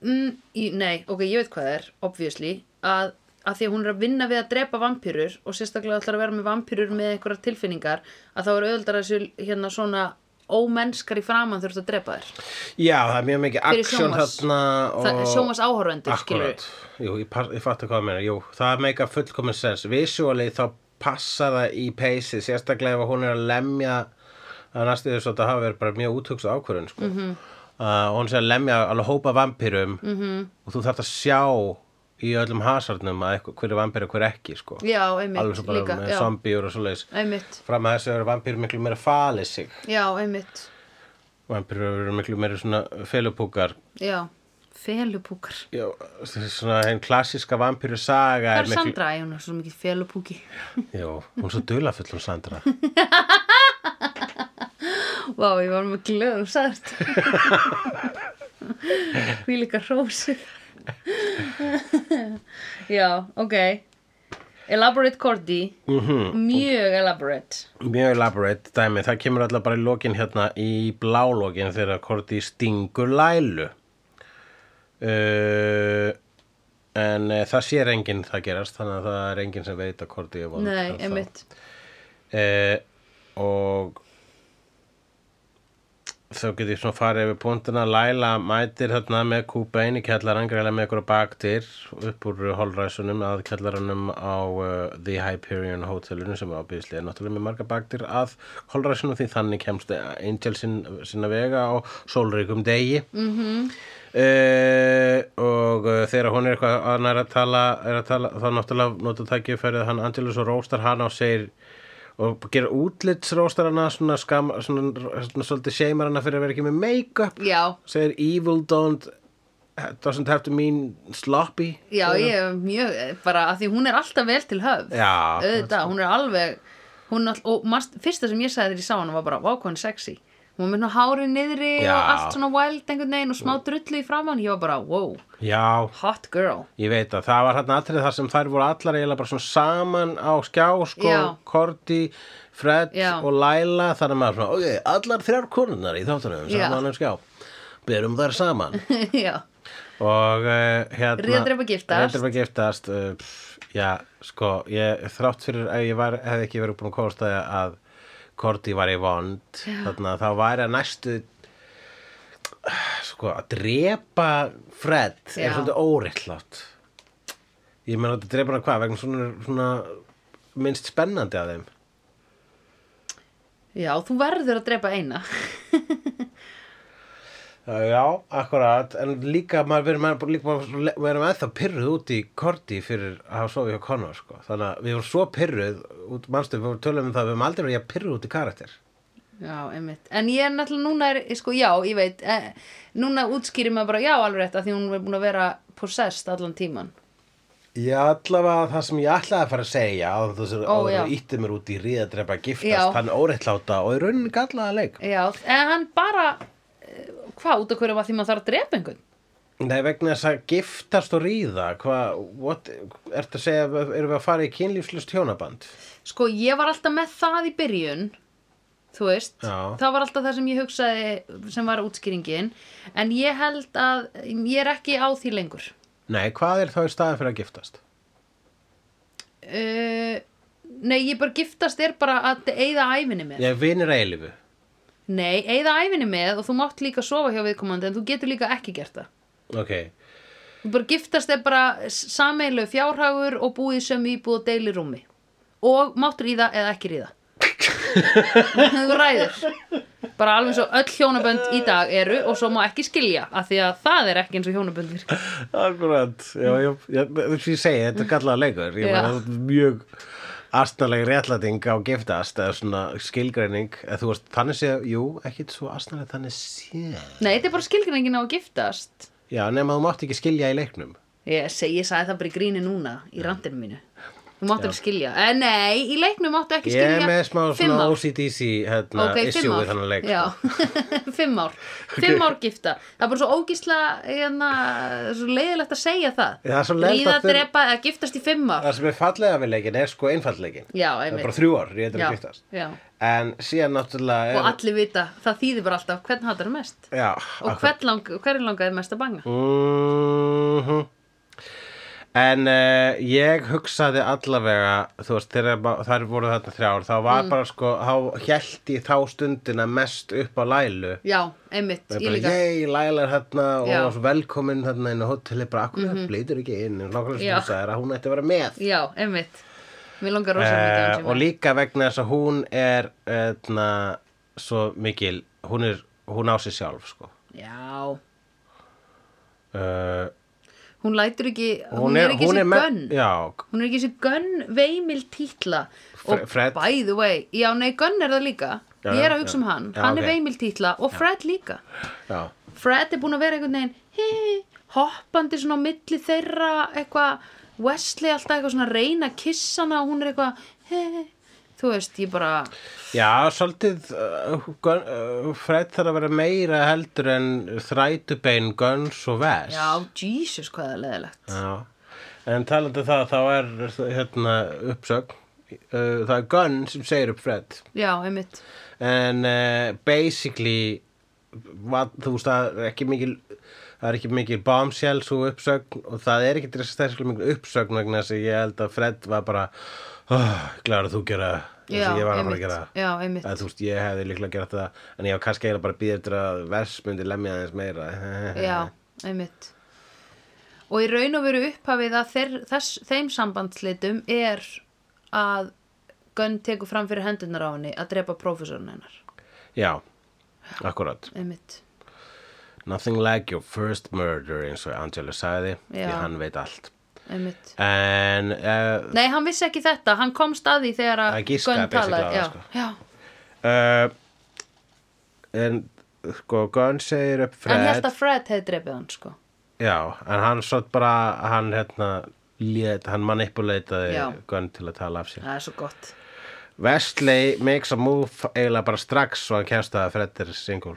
mm, í, nei, ok, ég veit hvað það er obviously, að, að því að hún er að vinna við að drepa vampýrur og sérstaklega ætlar að vera með vampýrur með einhverjar tilfinningar að þá er auðvöldar þessu hérna svona ómennskar í framan þurft að drepa þær
Já, það er mjög mikið
Fyrir
aksjón
sjónvarps-
þarna og...
það, sjómas áhörvendur, skilur
Akkurat, jú, ég, par- ég fattu hvað það meina Jú, það meika fullkomin sens Visually þá passa það í peysi Sérstaklega ef hún er að lemja Það næstu þess að það hafa verið bara mjög útugst ákvörðun sko. mm
Mhm.
-hmm. Hún sé að lemja alveg hópa vampýrum
Mhm.
-hmm. Og þú þarft að sjá í öllum hasarnum að eitthvað, hver er vampýr og hver ekki sko.
já, einmitt,
Alveg svo bara
líka
með
já,
zombíur og svoleiðis
einmitt,
Fram að þessu eru vampýrum miklu meira falið sig
já, einmitt
Vampýrum eru miklu meira svona felupúkar
já, felupúkar
Já, þessi svona henn klassíska vampíru saga
það er Sandra, ég hún er svo mikið felupúki
Jó, hún er svo dulafull hún Sandra.
Vá, ég var með glöðum sært. Hví líka hrósið. Já, ok. Elaborate Cordy.
Mhm.
Mjög elaborate.
Mjög elaborate dæmi, það kemur alltaf bara í lokin hérna í blálókin þegar Korti stingur lælu. Uh, en uh, það sér enginn það gerast, þannig að það er enginn sem veit að Korti er vond. um
Nei,
ennþá.
einmitt.
Eh, og þá get ég svona farið yfir punktana Laila mætir hérna með kúpa inn í kjallarann greiðlega með ykkur baktir upp úr holræsunum að kjallaranum á uh, The Hyperion Hotelinu sem er ábyggislega náttúrulega með marga baktir að holræsunum því þannig kemst Angel sin, sinna vega á sólríkum degi mm -hmm. og uh, þegar hún er eitthvað hann er að tala, er að tala þá náttúrulega nota tækifærið hann Angelus og róstar hana og segir og gera útlitsróstar hana svona, skam, svona, svona svolítið seimar hana fyrir að vera ekki með make-up
Já,
segir evil don't doesn't have to mean sloppy
já, ég er mjög, bara að því hún er alltaf vel til höf.
Já,
Auðvitað, hún er alveg, hún er all, og marst, fyrsta sem ég sagði þegar ég sá hana var bara, vá, hvað hún er sexy. Hún var með nú hárið niðri
Já.
og allt svona wild einhvern veginn og smá drullu í framann. Ég var bara, wow,
já,
hot girl.
ég veit að það var hérna atrið þar sem þær voru allar eiginlega bara svona saman á skjá sko,
Já.
Korti, Fred
Já.
og Laila þar er maður svona, ok, allar þrjár konunnar í þáttunum
Já.
saman á skjá berum þær saman
já,
og uh, hérna
Réðdrepa giftast.
réðdrepa giftast uh, pff, já, sko, ég, þrátt fyrir að ég var, hefði ekki verið búin að komast að, að Korti var í vond þannig að þá væri að næstu sko að drepa Fred
Já.
er svolítið óreiklátt ég meina að drepa hann hvað vegna svona, svona minnst spennandi að þeim
Já, þú verður að drepa eina.
Já, akkurat, en líka maður verið með, líka maður verið með það pyrruð út í Korti fyrir að hafa sofið hjá Connor, sko. Þannig að við vorum svo pyrruð, út, manstu, við vorum tölum um það, við höfum aldrei verið að pyrruð út í karakter.
Já, einmitt. En ég er náttúrulega núna, er, ég sko, já, ég veit, eh, núna útskýrir maður bara, já, alveg rétt, að því hún er búin að vera possessed allan tíman.
Já, allavega það sem ég ætlaði að fara að segja, á þess að
Ó,
áður
já.
og ítti mér út í ríðadrepa
Já.
giftast, þann óréttláta og í rauninni gallaða leik.
Já, en hann bara, eh, hvað, út af hverju var því maður þarf að drepa einhvern?
Nei, vegna þess að giftast og ríða, hvað, what, ertu að segja, erum við að fara í kynlífslust hjónaband?
Sko, ég var alltaf með það í byrjun, þú veist,
Já.
það var alltaf það sem ég hugsaði sem var útskýringin, en ég held að ég er ekki á því lengur.
Nei, hvað er þá í staðin fyrir að giftast?
Uh, nei, ég bara giftast er bara að eyða æfinni með.
Ég vinir að eilifu.
Nei, eyða æfinni með og þú mátt líka sofa hjá viðkomandi en þú getur líka ekki gert það.
Ok.
Þú bara giftast er bara sameilu fjárhagur og búið sem íbúð og deili rúmi. Og mátt ríða eða ekki ríða. Þú ræður. Bara alveg svo öll hjónabönd í dag eru og svo má ekki skilja af því að það er ekki eins og hjónabönd virka.
Akkurat, já, já, já, þess að ég segi, þetta er gallaða leikur, ég
Já.
meina þetta er mjög astnaleg réttlæting á giftast eða svona skilgreining, eða þú veist, þannig sé, jú, ekkit svo astnaleg þannig sé.
Nei, þetta er bara skilgreiningin á að giftast.
Já, nema þú mátt ekki skilja í leiknum.
Ég segi, ég sagði það bara í gríni núna í randinu mínu. Þú mátt ekki skilja. Eh, nei, í leiknum máttu ekki
Ég
skilja.
er með smá
fimm
svona
ár.
OCDC hérna,
Ok, fimm
issue
ár
við þannig leik. sko.
Já, fimm ár Fimm ár gifta Það er bara svo ógísla hérna, svo leiðilegt að segja það
Já, það er svo leiðilegt
Ríða,
að þurfa-
drepa eða giftast í fimm ár
Það sem er fallega við leikin er sko einfaldleikin.
Já,
Það er
einmitt
bara þrjú ár, ég
Já,
eitthvað giftast.
já.
En síðan náttúrulega...
Og allir vita, það þýðir bara alltaf hvern hattar mest
Já,
Og hvern, lang, hvern langaði mest að banga
Mhm. En uh, ég hugsaði allavega, þú veist, þegar ma- þær voru þarna þrjár, þá var
Mm.
bara sko, þá held ég þá stundina mest upp á Lælu.
Já, einmitt,
Ég
ég
bara,
líka
yey, Læla er þarna og
Já. Mhm.
var svo velkomin þarna inn á hóteli, bara, akkur mm -hmm. blýtur ekki inn, og nákvæmlega sem
Já.
hún sagði að hún ætti að vera með.
Já, einmitt Mér langar rosa mikið
Eh,
hans
og líka vegna þess að hún er, eðna, svo mikil, hún er, hún á sig sjálf, sko.
Já,
Uh,
hún lætur ekki Hún, er, ekki
hún
sem
með-
gönn
Já,
Hún er ekki þessi Gunn veimil títla
Fre-
og
Fred.
by the way, já nei Gunn er það líka
Já,
ég er
já,
að hugsa um
já.
hann,
Já,
hann
ok.
er veimil títla og Fred líka
já.
Fred er búin að vera einhvern veginn hi, hi, hoppandi svona á milli þeirra eitthvað, Wesley alltaf eitthvað svona að reyna að kissa hana og hún er eitthvað hi, hi, þú veist, ég bara
Já, svolítið uh, gun, uh, Fred þarf að vera meira heldur en þrætubein Guns og Vess
já, Jesus hvað það er leðilegt
Já. En talandi um það, þá er hérna, uppsögn uh, Það er Gunn sem segir upp Fred
já, einmitt,
En uh, basically var, Þú veist, það er ekki mikil Það er ekki mikil bombshell svo uppsögn og það er ekki þess að mikil uppsögn vegna þess að ég held að Fred var bara oh, Glara þú gera
já,
þess að ég var að fara að
einmitt.
gera
já, einmitt
að þú veist, ég hefði líklega gert það en ég var kannski eiginlega bara að býða eftir að vers myndi lemja aðeins meira
Já,
Eh,
einmitt. Og í raun og veru upphafið að þeir, þess, þeim sambandslitum er að Gunn tekur fram fyrir hendunar á henni að drepa prófessorinn hennar.
Já, akkurat
Einmitt.
Nothing like your first murder eins og Angela sagði því
Já.
hann veit allt
Einmitt.
en uh,
Nei, hann vissi ekki þetta. Hann kom staði þegar að
Að giska,
Gunn
basically,
talaði.
á
Já,
það, sko.
já.
uh, en sko Gunn segir upp
Hann
Fred
held að Fred hefði drepið hann, sko.
Já, en hann svo bara hann hérna lét, hann manipuleitaði
Já.
Gunn til að tala af sér
Það er svo gott.
Vestley makes a move eiginlega bara strax svo hann kemst að Fred er single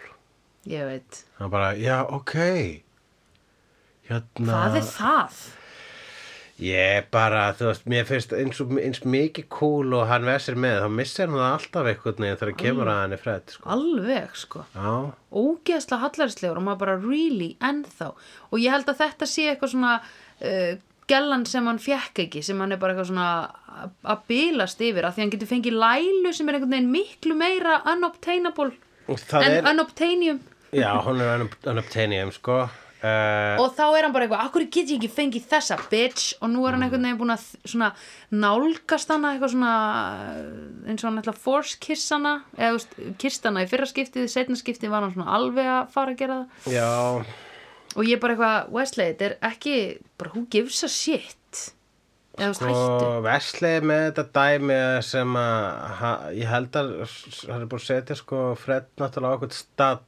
Ég veit.
hann bara, já, ok hérna
Hvað er það?
ég bara, þú veist, mér finnst eins, og, eins mikið cool og hann vesir með þá missir hann það alltaf einhvern veginn þegar
Mm.
kemur að henni fred sko.
Alveg, sko.
já,
ógeðslega hallarislegur og maður bara really ennþá og ég held að þetta sé eitthvað svona uh, gellan sem hann fjekk ekki sem hann er bara eitthvað svona að- að bilast yfir að því hann getur fengið lælu sem er einhvern veginn miklu meira unobtainable
Og það
en
er,
unobtainium
já, hún er unup- unobtainium, sko. Uh,
og þá er hann bara eitthvað, akkur get ég ekki fengið þessa bitch og nú er hann
Mm.
einhvern veginn búin að þ- svona nálgast hana eitthvað svona eh, eins og hann ætla að force kiss hana eða þú veist, kist hana í fyrra skiptið, setna skiptið var hann svona alveg að fara að gera það
já,
og ég bara eitthvað, Wesley, þetta er ekki bara hún gives a shit eða þú veist, hættu
og veslið Sko, með þetta dæmi sem að ha- ég held að s- hann er búin að setja sko Fred náttúrulega á okkur stall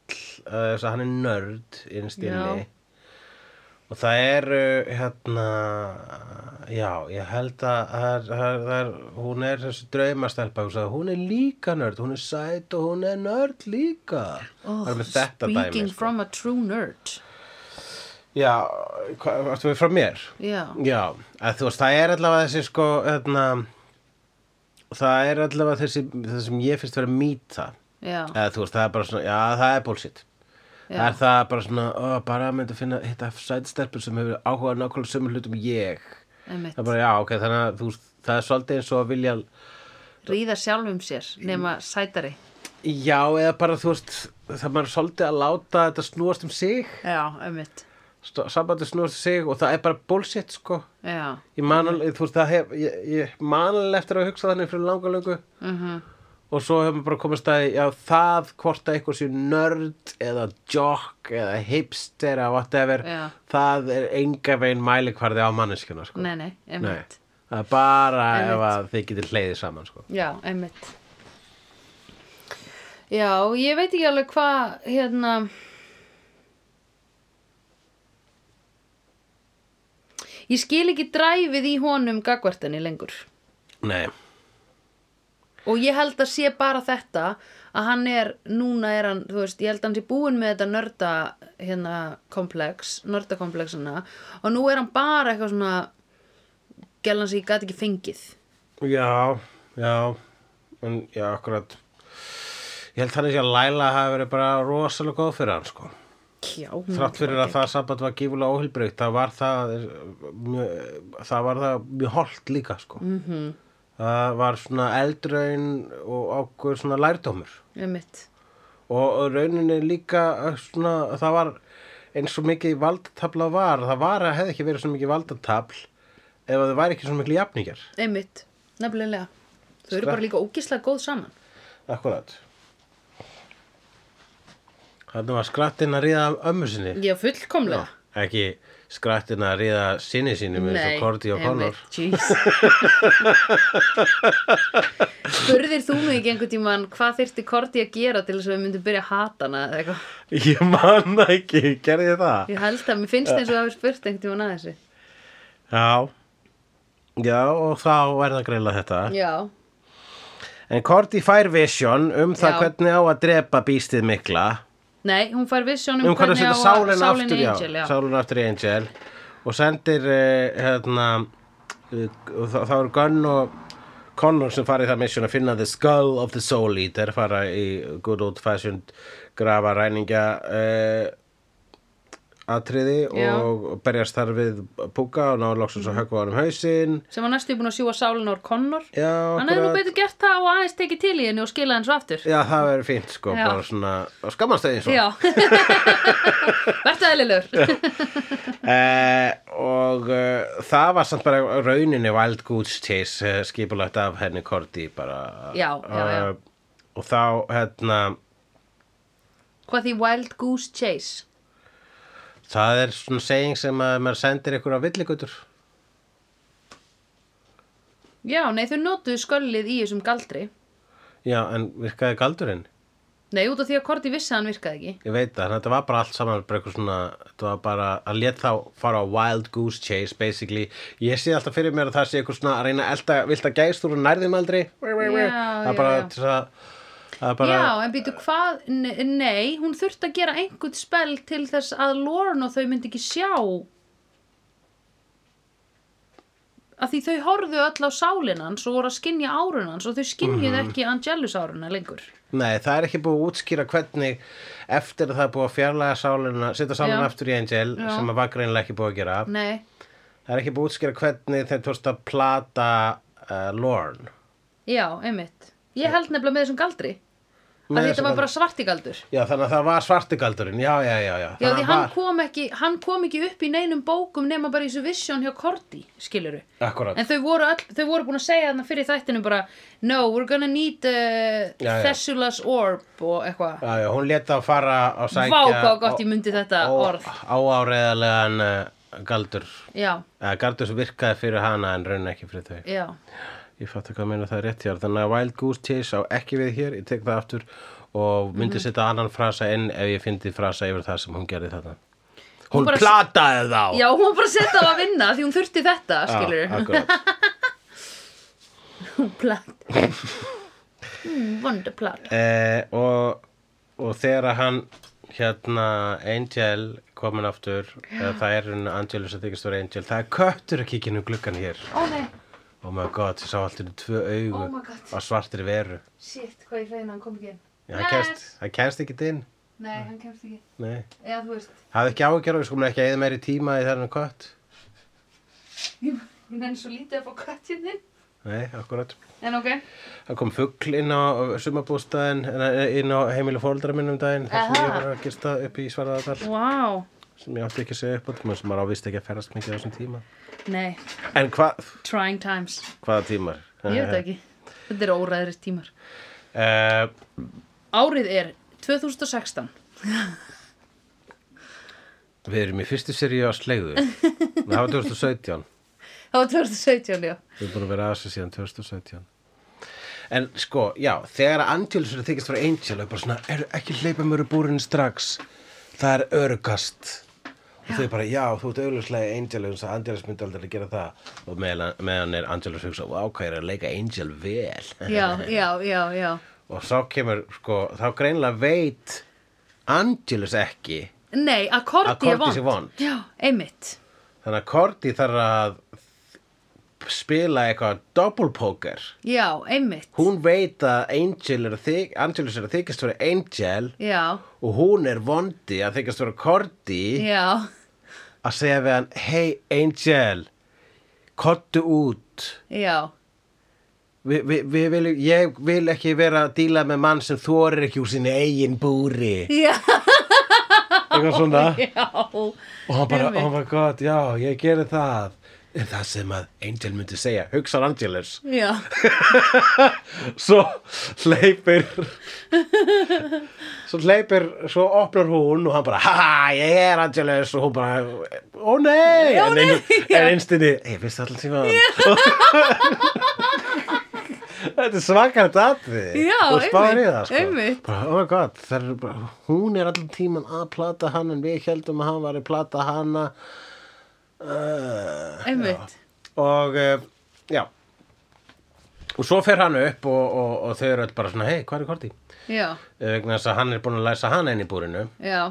uh, þess að hann er nörd innst
Já.
inni og það eru hérna já, ég held að það er, það er, það er, hún er þessi draumastelpa hugsaði, hún er líka nörd, hún er sæt og hún er nörd líka
Oh,
það er með þetta
speaking
dæmi sko.
from a true nerd
já, hvað, varstu við frá mér?
Já,
Já, að þú veist, það er allavega þessi sko, þarna, það er allavega þessi, það sem ég finnst vera mýta,
já,
eða þú veist, það er bara svona, já, það er bullshit. Það
já,
er það bara svona, ó, bara myndi að finna, hitta sætstelpur sem hefur áhuga á nákvæmlega sömu hlutum ég.
einmitt
Það er bara, já, ok, þannig að þú veist, það er svolítið eins og að vilja,
Ríða sjálfum sér, nema sætari
já, eða bara, þú veist, það er maður svolítið að láta þetta snúast um sig,
Já, einmitt
st- sambandið snúast um sig og það er bara bullshit, sko.
Já,
Ég man alveg, þú veist, það hef, ég, ég man alveg eftir að hugsa þannig fyrir langa löngu
mhm
og svo hefum við bara komast að, já, það hvort að eitthvað sé nörd eða jock eða hipster eða whatever,
Já.
það er enga veginn mælikvarði á manneskjuna, sko.
Nei, nei, einmitt
Það er bara
Einmitt.
ef að þið getur hleiðið saman, sko.
Já, einmitt Já, ég veit ekki alveg hvað hérna Ég skil ekki dræfið í honum gagvartinni lengur
Nei,
og ég held að sé bara þetta að hann er, núna er hann þú veist, ég held að hann sé búinn með þetta nörda hérna komplex, nördakomplexina og nú er hann bara eitthvað svona gælan sem ég gat ekki fengið
já, já, en já, akkurat, ég held þannig sé að Laila hafi verið bara rosalega góð fyrir hann, sko.
Já, hún
Þrátt fyrir að það samband var gífulega óhildbreykt, það var það, mjög, það var það mjög holt líka, sko.
Mhm,
Það var svona eldraun og ákveður svona lærdómur
einmitt
og og rauninni líka eh, svona, það var eins og mikið valdatafla var, það var að hefði ekki verið svo mikið valdatafl ef að það væri ekki svo miklu jafningar.
Einmitt, nefnilega Þau eru
Skvett.
bara líka ógislega góð saman
Akkurat. Þannig var skrattinn að ríða ömmu sinni.
Já, fullkomlega
Ekki skrattinn að ríða sinni sínum eins og Korti og Connor.
Jeez Spurðir þú mig ekki einhvern tímann hvað þyrfti Korti að gera til þess að við myndum byrja að hata hana eða eitthvað
Ég man það ekki, gerði ég það?
Ég held að mér finnst eins og það hafi spurt einhvern tímann að þessu
Já. Já, og þá er það greila þetta.
Já,
En Korti fær vision um það
Já.
hvernig á að drepa býstið mikla
nei, hún fær vision um,
um hvernig að setja
á
sálinn aftur,
í
já,
Angel já.
sálinn aftur í Angel og sendir uh, hérna uh, og þá, þá eru Gunn og Connor sem farið það mission að finna the skull of the soul eater fara í good old fashioned grafa ræningja uh, atriði
Já. Mhm.
og berjast þar við púka og ná loksins að höggva honum hausinn
sem var næstu búin að sjúga sálinn á Connor
Já,
Hann hefði nú
akkurat.
betur gert það og aðeins tekið til í henni og skilað henni svo aftur
Já, það verður fínt sko,
Já.
bara svona skammast þau eins og
Já Vertu eðlilegur
Eh, og uh, það var samt bara rauninni Wild Goose Chase uh, skipulagt af henni Korti bara
Já, já, já.
Eh, og þá hérna
Hvað því Wild Goose Chase?
það er svona seging sem að maður sendir ykkur á villigutur
Já, nei, þau notuðu sköllið í þessum galdri.
já en virkaði galdurinn
Nei, út af því að Korti vissi að hann virkaði ekki.
ég veit það, þannig að þetta var bara allt saman bara eitthvað svona, þetta var bara að lét þá fara á Wild Goose Chase basically ég sé alltaf fyrir mér að það sé eitthvað svona að reyna að elda, vilt að gæst úr og nærðum aldrei það
já,
er bara
já.
til þess að það er bara
Já, en býtu hvað, ne- nei, hún þurfti að gera einhvern spell til þess að Lorne og þau myndi ekki sjá að því þau horfðu öll á sálinans og voru að skinja árunans og þau skinjuðu ekki Angelus áruna lengur.
Nei, það er ekki búið að útskýra hvernig eftir að það er búið að fjarlæga sálina, setja sálina
Já.
aftur í Angel
Já.
sem að var greinlega ekki búið að gera
Nei,
það er ekki búið að útskýra hvernig þeir tókst að plata uh, Lorne
já, einmitt ég held nefnilega með þessum galdri að þetta var bara svartigaldur
Já, þannig að það var svartigaldurinn, já, já, já, já.
já,
Þannig
því
að
hann kom, ekki, hann kom ekki upp í neinum bókum nema bara í þessu vision hjá Korti skiluru
Akkurat.
En þau voru, all, þau voru búin að segja þarna fyrir þættinu bara No, we're gonna need uh,
Já, já.
Thessula's orb og eitthvað
Já, já, hún leta að fara á sækja
Vá, hvað gott ég myndi þetta orð
Ááreðalegan uh, galdur
Já,
eða galdur sem virkaði fyrir hana en raun ekki fyrir þau
já,
Ég fatt hvað að meina það er rétt hjá Þannig að Wild Goose Chase á ekki við hér Ég tek það aftur og myndi
Mhm.
setja annan frasa inn ef ég fyndi frasa yfir það sem hún gerði þetta Hún,
bara-
plataði þá
já, hún var bara að setja á að vinna því hún þurfti þetta, skilur
akkurat.
Hún plat mm, Wonder plat
Eh, og, og þegar að hann hérna Angel komin aftur eða það er hún Angel sem þykist vera Angel það er köttur að kíkja inn um gluggan hér
Ó nei,
oh my god, ég sá alltaf tvö augu
Oh my god.
á svartir veru
shit, hvað ég feina, hann kom ekki inn
Já, hann, kemst, hann kemst ekki inn
Nei, hann kemst ekki
Nei.
Eða þú veist,
hafði ekki ágjörðu, sko, ekki að eða meiri tíma í þennan kött
ég nenni svo lítið að fá kattinn þinn
nei, akkurat
En ok,
það kom fugl inn á sumabústaðin inn á heimilu fóldra minn um daginn þar sem
Aha.
ég var að gista upp í Svarðardal
wow
sem ég átti ekki að segja upp á tíma sem maður ávist ekki að ferðast mikið á þessum tíma
Nei,
en hvað
trying times
Hvaða tímar?
Ég veit það ekki, þetta er óræðri tímar
Eh,
Árið er 2016
við erum í fyrstu seríu á slegðu. Það var 2017.
Það var 2017, já.
Við erum búin að vera að þessu síðan 2017. En sko, já, þegar að Angelus er að þykist frá Angel, er bara svona, er, ekki hleypa mér úr búrinu strax. Það er örugast. Og þau bara, já, þú ert auðvitað Angelus, að Angelus myndi aldrei að gera það. Og meðan, meðan er Angelus hugsa, vá, hvað ég er að leika Angel vel.
Já, já, já, já.
Og þá kemur, sko, þá greinlega veit Angelus ekki
Nei, að Korti
Að
er
Korti
vond.
sé vond.
Já, einmitt.
Þannig að Korti þarf að spila eitthvað double poker.
Já, einmitt.
Hún veit að Angel er að þyk, Angelus er að þykast vera Angel
Já,
og hún er vondi að þykast vera Korti
já,
að segja við hann, hei Angel, kottu út.
já,
Vi, vi, vi vil, ég vil ekki vera að díla með mann sem þorir ekki úr sinni eigin búri.
já,
Eitthvað svona.
já.
Og hann bara,
Einmitt.
oh my god, já, ég gerði það. En það sem að Angel myndi segja, hugsar Angelus.
Já,
svo hleypir svo hleypir svo opnar hún og hann bara haha, ég er Angelus og hún bara, ó nei
Ó,
en,
nei,
ein-
já.
en einstinni, ég vissi allan tíma þetta er svakar datri
Já,
og spáir í
einmitt,
það sko.
einmitt.
bara, oh my god, það er bara, hún er allan tíman að plata hann en við heldum að hann var að plata hana uh,
einmitt.
og uh, já og svo fer hann upp og, og, og þau eru öll bara svona hei, hvað er Korti?
Já,
Eh, vegna þess að hann er búin að læsa hann inn í búrinu
já,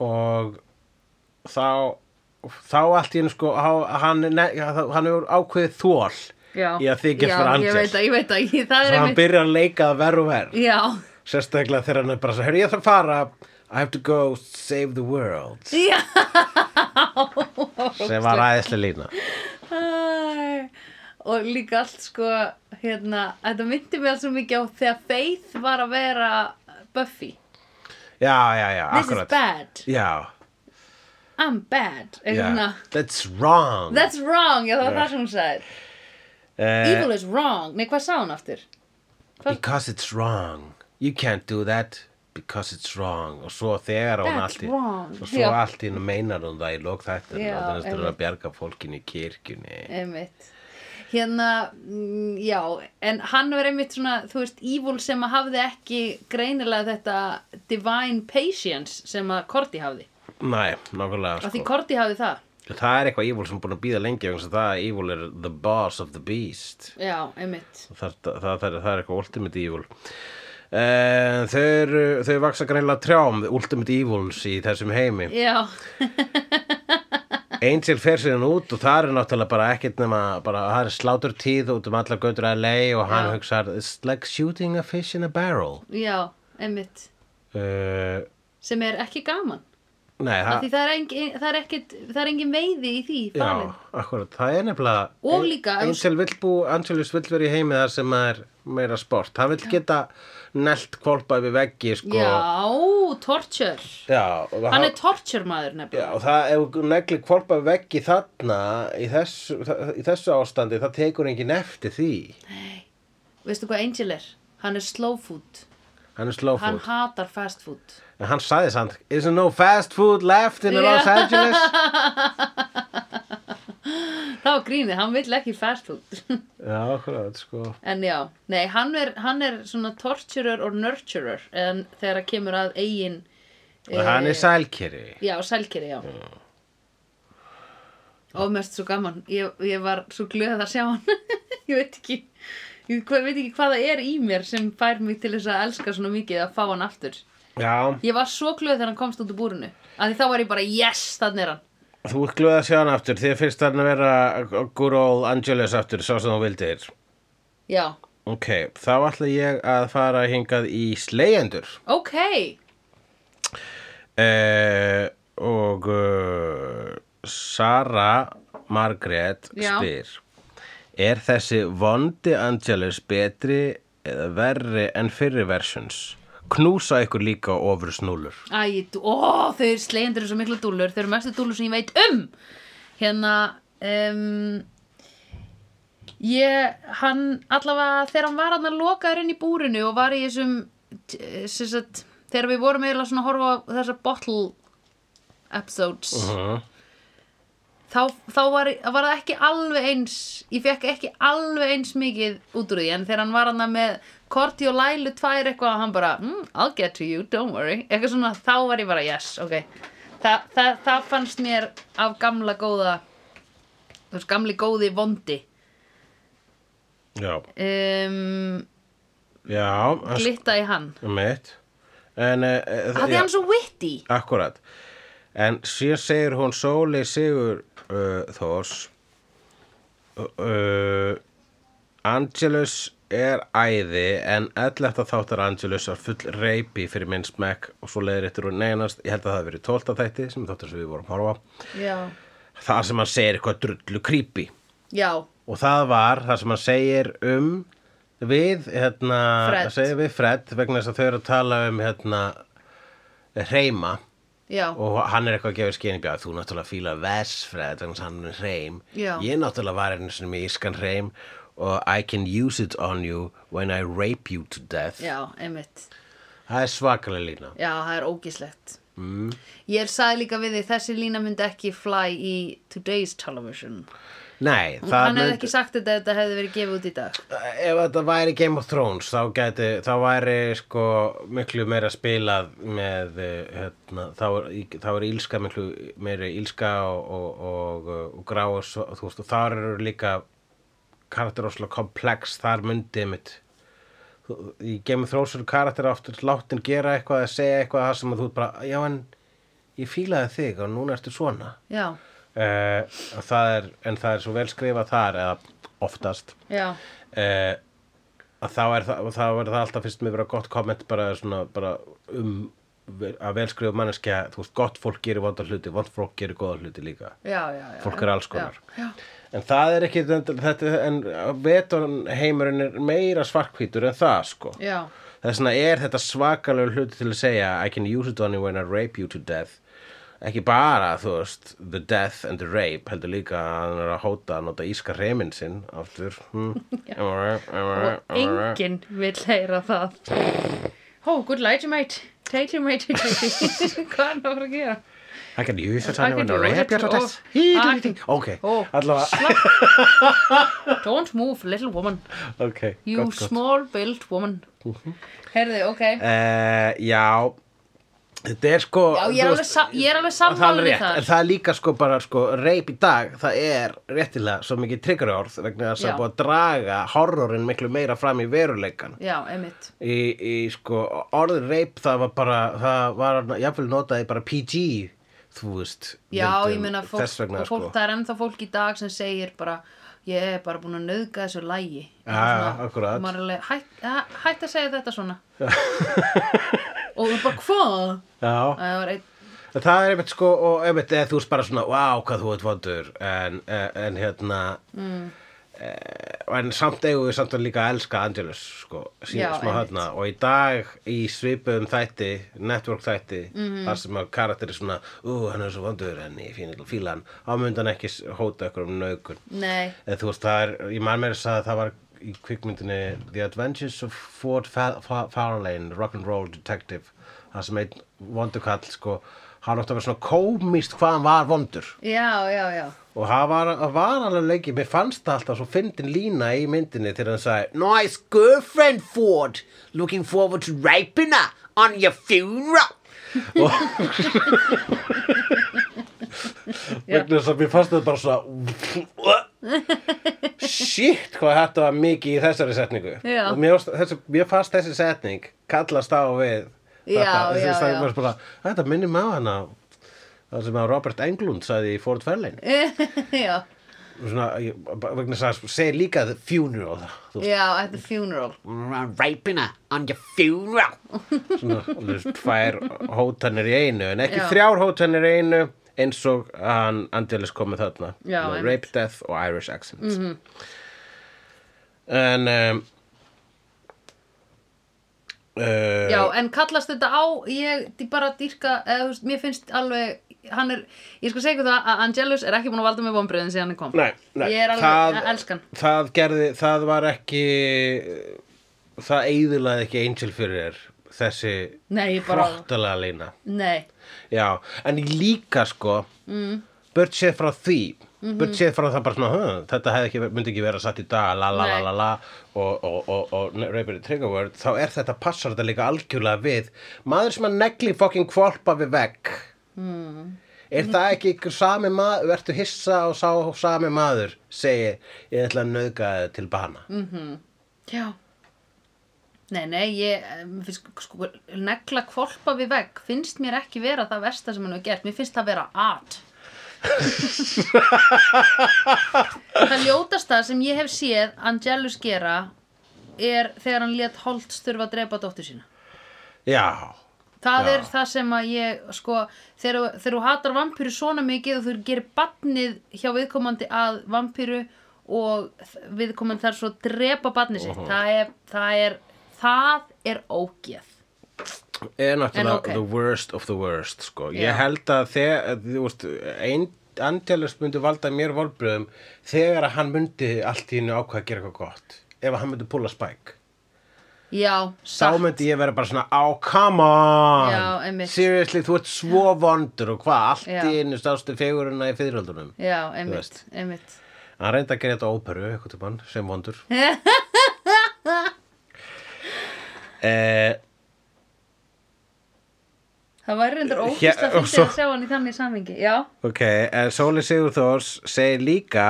og þá þá allt í hennu sko á- hann, ne, hann er ákveðið þól
já.
í að þykja fyrir
Já, ég veit
Angel
að, ég veit að, ég, það
svo
er
hann
einmitt.
byrjar að leika að verð og verð
Já,
sérstaklega þegar hann er bara svo, hörru ég þarf að fara I have to go save the world
já.
sem var aðeinslega lína
Æ, og líka allt sko hérna, þetta myndi mig alls svo mikið á þegar Faith var að vera Buffy,
já, já, já,
this is
akkurat
bad
já,
I'm bad eitthvað
já,
svona
that's wrong
That's wrong, já það var það sem hún sagði
Eh,
Evil is wrong, nei hvað sá hún aftur? Hvað-
Because it's wrong You can't do that Because it's wrong Og svo þegar hún
That's
allt í
wrong.
Og svo
Já.
allt í hún meinar hún það í lók þetta
Já,
Þannig að það er
einmitt.
að bjarga fólkinu í kirkjunni
Einmitt Hérna, mm, já, en hann var einmitt svona, þú veist, evil sem að hafði ekki greinilega þetta divine patience sem að Korti hafði
Næ, nákvæmlega
og því
sko.
Korti hafði það
Það er eitthvað evil sem er búin að býða lengi vegna þess að það evil er the boss of the beast
Já, einmitt
Það, það, það, það, er- það er eitthvað ultimate evil Uh, þau, eru, þau vaksa greinlega trjám Ultimate Evils í þessum heimi
Já,
Angel fer síðan út og það er náttúrulega bara ekkert nema bara, það er slátur tíð út um alla götur að lei og
Já.
hann hugsar it's like shooting a fish in a barrel
já, einmitt
uh,
sem er ekki gaman
Nei,
af
það,
því það er, engin, það, er ekkit, það er engin veiði í því
já,
falin.
akkurat, það er nefnilega
Og líka, ef þú-
Angel vill bú, Angelus vill vera í heimi þar sem það er meira sport Það vill geta nelt kvolpa við veggi sko.
Já, torture.
Já, og
Hann
það-
er torture maður nefnilega.
Já, og það, ef þú neglir kvolpa við veggi þarna í þessu, það, í þessu ástandi, það tekur enginn eftir því.
Veistu hvað Angel er? Hann er slow food.
Hann er slow
Hann
food.
hatar fast food.
En hann sagði samt, isn't no fast food left in
Já.
Los Angeles?
Það var grínið, hann vill ekki fast food.
Já, hvað, sko.
en já, nei, hann er, hann er svona torturer og nurturer en þegar að kemur að eigin...
Og hann er sælkeri.
Já, sælkeri, já. Og mest svo gaman, ég, ég var svo glöð að sjá hann. ég veit ekki, ég hva- veit ekki hvað það er í mér sem fær mig til þess að elska svona mikið að fá hann aftur.
Já,
Ég var svo glöð þegar hann komst út úr búrinu. Af því þá var ég bara, yes, þannig er hann.
þú ert glöð að sjá hann aftur. Þið finnst hann að vera good old Angeles aftur, svo sem þú vildir.
Já,
Ok, þá ætla ég að fara hingað í slegjendur.
ok.
Eh, og uh, Sara Margrét
Já.
spyr Er þessi vondi Angelus betri eða verri en fyrri versjons? Knúsa ykkur líka ofur snúlur
Æ, dú- ó, þau eru slegjendur eru svo mikla dúllur. Þau eru mestu dúllur sem ég veit um. Hérna, um, ég, hann, allavega, þegar hann var hann lokaður inn í búrinu og var í þessum, t- sem sagt, þegar við vorum eiginlega svona að horfa á þessa bottle episodes,
-huh.
þá, þá var, var það ekki alveg eins ég fekk ekki alveg eins mikið út úr því en þegar hann var hann með Korti og Lælu tvær eitthvað og hann bara mm, I'll get to you, don't worry eitthvað svona, þá var ég bara yes, ok Þa, það, það fannst mér af gamla góða þú veist, gamli góði vondi Eh,
Já,
um,
já
glitta í hann
Mitt En eh, eh,
það er
já,
hann svo witty
Akkurat En síðan segir hún Sóli Sigur uh, Þós uh, Angelus er æði en 11. þáttar Angelus var full reypi fyrir minn smekk og svo leiðir eftir hún neynast ég held að það hafi verið 12. þætti sem þáttar sem við vorum að horfa á.
já,
það sem hann segir eitthvað drullu creepy
já,
og það var það sem hann segir um við hérna,
Fred.
hann segir við Fred vegna þess að þau eru að tala um hérna, reyma
já.
og hann er eitthvað að gefa skynið bjáð þú náttúrulega fíla versfræð þannig að hann er hreim
Já.
ég náttúrulega var einu sinni með ískan hreim og I can use it on you when I rape you to death
já, einmitt
það er svakalega lína
Já, það er ógíslegt. Mm. Ég er sagði líka við því, þessi lína myndi ekki fly í Today's Television.
nei, það
Hann hefði ekki sagt þetta ef þetta hefði verið gefið út í dag.
ef þetta væri Game of Thrones þá, gæti, þá væri sko miklu meira spilað með eh, hérna, þá, er, þá er ílska miklu meira ílska og, og, og, og grá og, svo- þú veist, og þar eru líka karakter óslega komplex þar myndi mitt í Game of Thrones eru karakter aftur látin gera eitthvað að segja eitthvað það sem að þú ert bara, já en ég fílaði þig og núna ertu svona
Já,
uh, það er, en það er svo vel skrifað þar eða oftast
já,
eh, að þá er það, þá er það alltaf fyrst með vera gott komment bara, svona, bara um vel- að velskrifa manneskja, þú veist, gott fólk gerir vonda hluti, vond fólk gerir góða hluti líka
já, já. já
fólk er alls konar
Já,
en það er ekki, þetta, en veturinn heimurinn er meira svarkvítur en það, sko
já, já,
þess vegna er þetta svakalega hluti til að segja I can use it on you when I rape you to death ekki bara, þú veist the death and the rape, heldur líka að hann er að hóta að nota íska reyminn sinn aftur hmm. Am I right? Am I right?
og
Am I right?
enginn vil heyra það. Ó, good light, mate. Take you, mate. Hvað er hann að fara að gera?
I can use it
I
on you
can
when I
use
rape you
it
to
to-
death
oh,
Hí,
I
dí,
can-
dí, dí. ok,
Ó.
allavega
Don't move, little woman.
ok,
You
gott, gott
small built woman. Herði, ok.
Eh, já þetta er sko
Já, ég er
þú
alveg
veist,
sa- ég er alveg sammála
það er
við
rétt,
það.
en það er líka sko bara sko reip í dag, það er réttilega svo mikið triggerorð vegna þess
Já.
að búið að draga horrorin miklu meira fram í veruleikan
Já, emitt.
í, í sko orðin reip það var bara það var jafnvel notaði bara PG þú veist
Já,
myndum,
ég meina fólk,
þess vegna
og fólk,
sko
það er ennþá fólk í dag sem segir bara ég er bara búin að nauðga þessu lægi
Já, já, akkurat.
alveg, hætt, ha- hætt að segja þetta svona og bara hvað?
Já,
Það var einn
En Það er einmitt sko, og einmitt eða þú veist bara svona, wow, hvað þú ert vondur en, eh, en hérna mm. en samt eigum við samt að líka að elska Angelus sko,
Já,
síðan smá
einmitt.
hérna og í dag í svipuðum þætti network þætti,
Mhm.
þar sem að karakter er svona, ú, hann er svo vondur en ég fín eitthvað fílan, ámyndan ekki s- hóta ykkur um nögun
Nei,
eða þú veist, það er, ég man meira að sagði að það var í kvikmyndinni The Adventures of Ford Fa- Fa- Farlane Rock'n'Roll Detective það sem einn vondukall sko, hann átti að vera svona komist hvað hann var vondur
já, já, já
og það var, það var alveg leikið mér fannst það alltaf svo fyndin lína í myndinni þegar hann sagði Nice girlfriend Ford looking forward to raping her on your funeral og vegna þess að mér fannst þetta bara svona shit hvað þetta var mikið í þessari setningu
Já.
og mér, fannst- þessi, mér fannst þessi setning kallast á við
Já,
þetta,
já,
Þessi-
já.
var Bara, þetta minnir mig á hana það sem að Robert Englund sagði í Ford Fairlane
Já,
svona, ég- bara vegna þess að segir líka the funeral þú
já, at the funeral
raping her on your funeral svona, þú veist, tvær hótanir í einu en ekki
Já.
þrjár hótanir í einu eins og hann Angelis komið þarna
Já,
Með
einmitt. Mhm.
rape, death og Irish accent en um, uh,
Já, en kallast þetta á, ég ég bara dýrka, eða, þú veist, mér finnst alveg, hann er, ég sko segja ykkur það að Angelus er ekki búin að valda með vombriðin síðan hann kom.
Nei, nei,
Ég er alveg, það, elskan.
það gerði, það var ekki það eigðulaði ekki Angel fyrir þér þessi
Nei, ég bara,
hróttalega lína
nei,
já, en ég líka sko mm. bört séð frá því bört séð frá það bara svona "Hm, þetta hefði ekki, myndi ekki vera satt í dag la la la
Nei.
la la og, og, og, og Raper Trigger Word þá er þetta passar þetta líka algjörlega við maður sem að negli fokkin kvolpa við vegg Er það ekki ykkur sami maður, vertu hissa og sá sami maður, segi ég ætla að nauðga þið til bana.
já. Nei, nei, ég, eh, mér finnst, sko, negla kvolpa við vegg, finnst mér ekki vera það versta sem hann hefur gert, mér finnst það vera art. það ljótasta sem ég hef séð Angelus gera er þegar hann lét Holt þurfa að drepa dóttur sína.
Já,
Það
Já.
er það sem að ég, sko, þegar þegar þú hatar vampíru svona mikið og þú gerir batnið hjá viðkomandi að vampíru og þ- viðkomandi þarf svo að drepa batnið sitt. það, er, það er, það er ógeð.
er náttúrulega
En ok.
the worst of the worst sko.
Já.
ég held að þegar þú veist, ein, Angelus myndi valda mér volbröðum þegar að hann myndi allt í hennu ákvað að gera eitthvað gott ef að hann myndi púla spæk
Já,
þá
satt.
myndi ég vera bara svona oh come on,
Já, einmitt.
seriously þú ert svo vondur og hvað allt
Já.
í hennu stástu fegurina í fyriröldunum
Já, einmitt,
veist.
einmitt.
hann reyndi að gera þetta á óperu eitthvað til mann sem vondur eh,
Það væri reyndar ógeðst
Hér-
að
og
fyndi
svo-
að sjá hann í þannig samingi. Já,
Ok, en Sóli Sigurþórs segir líka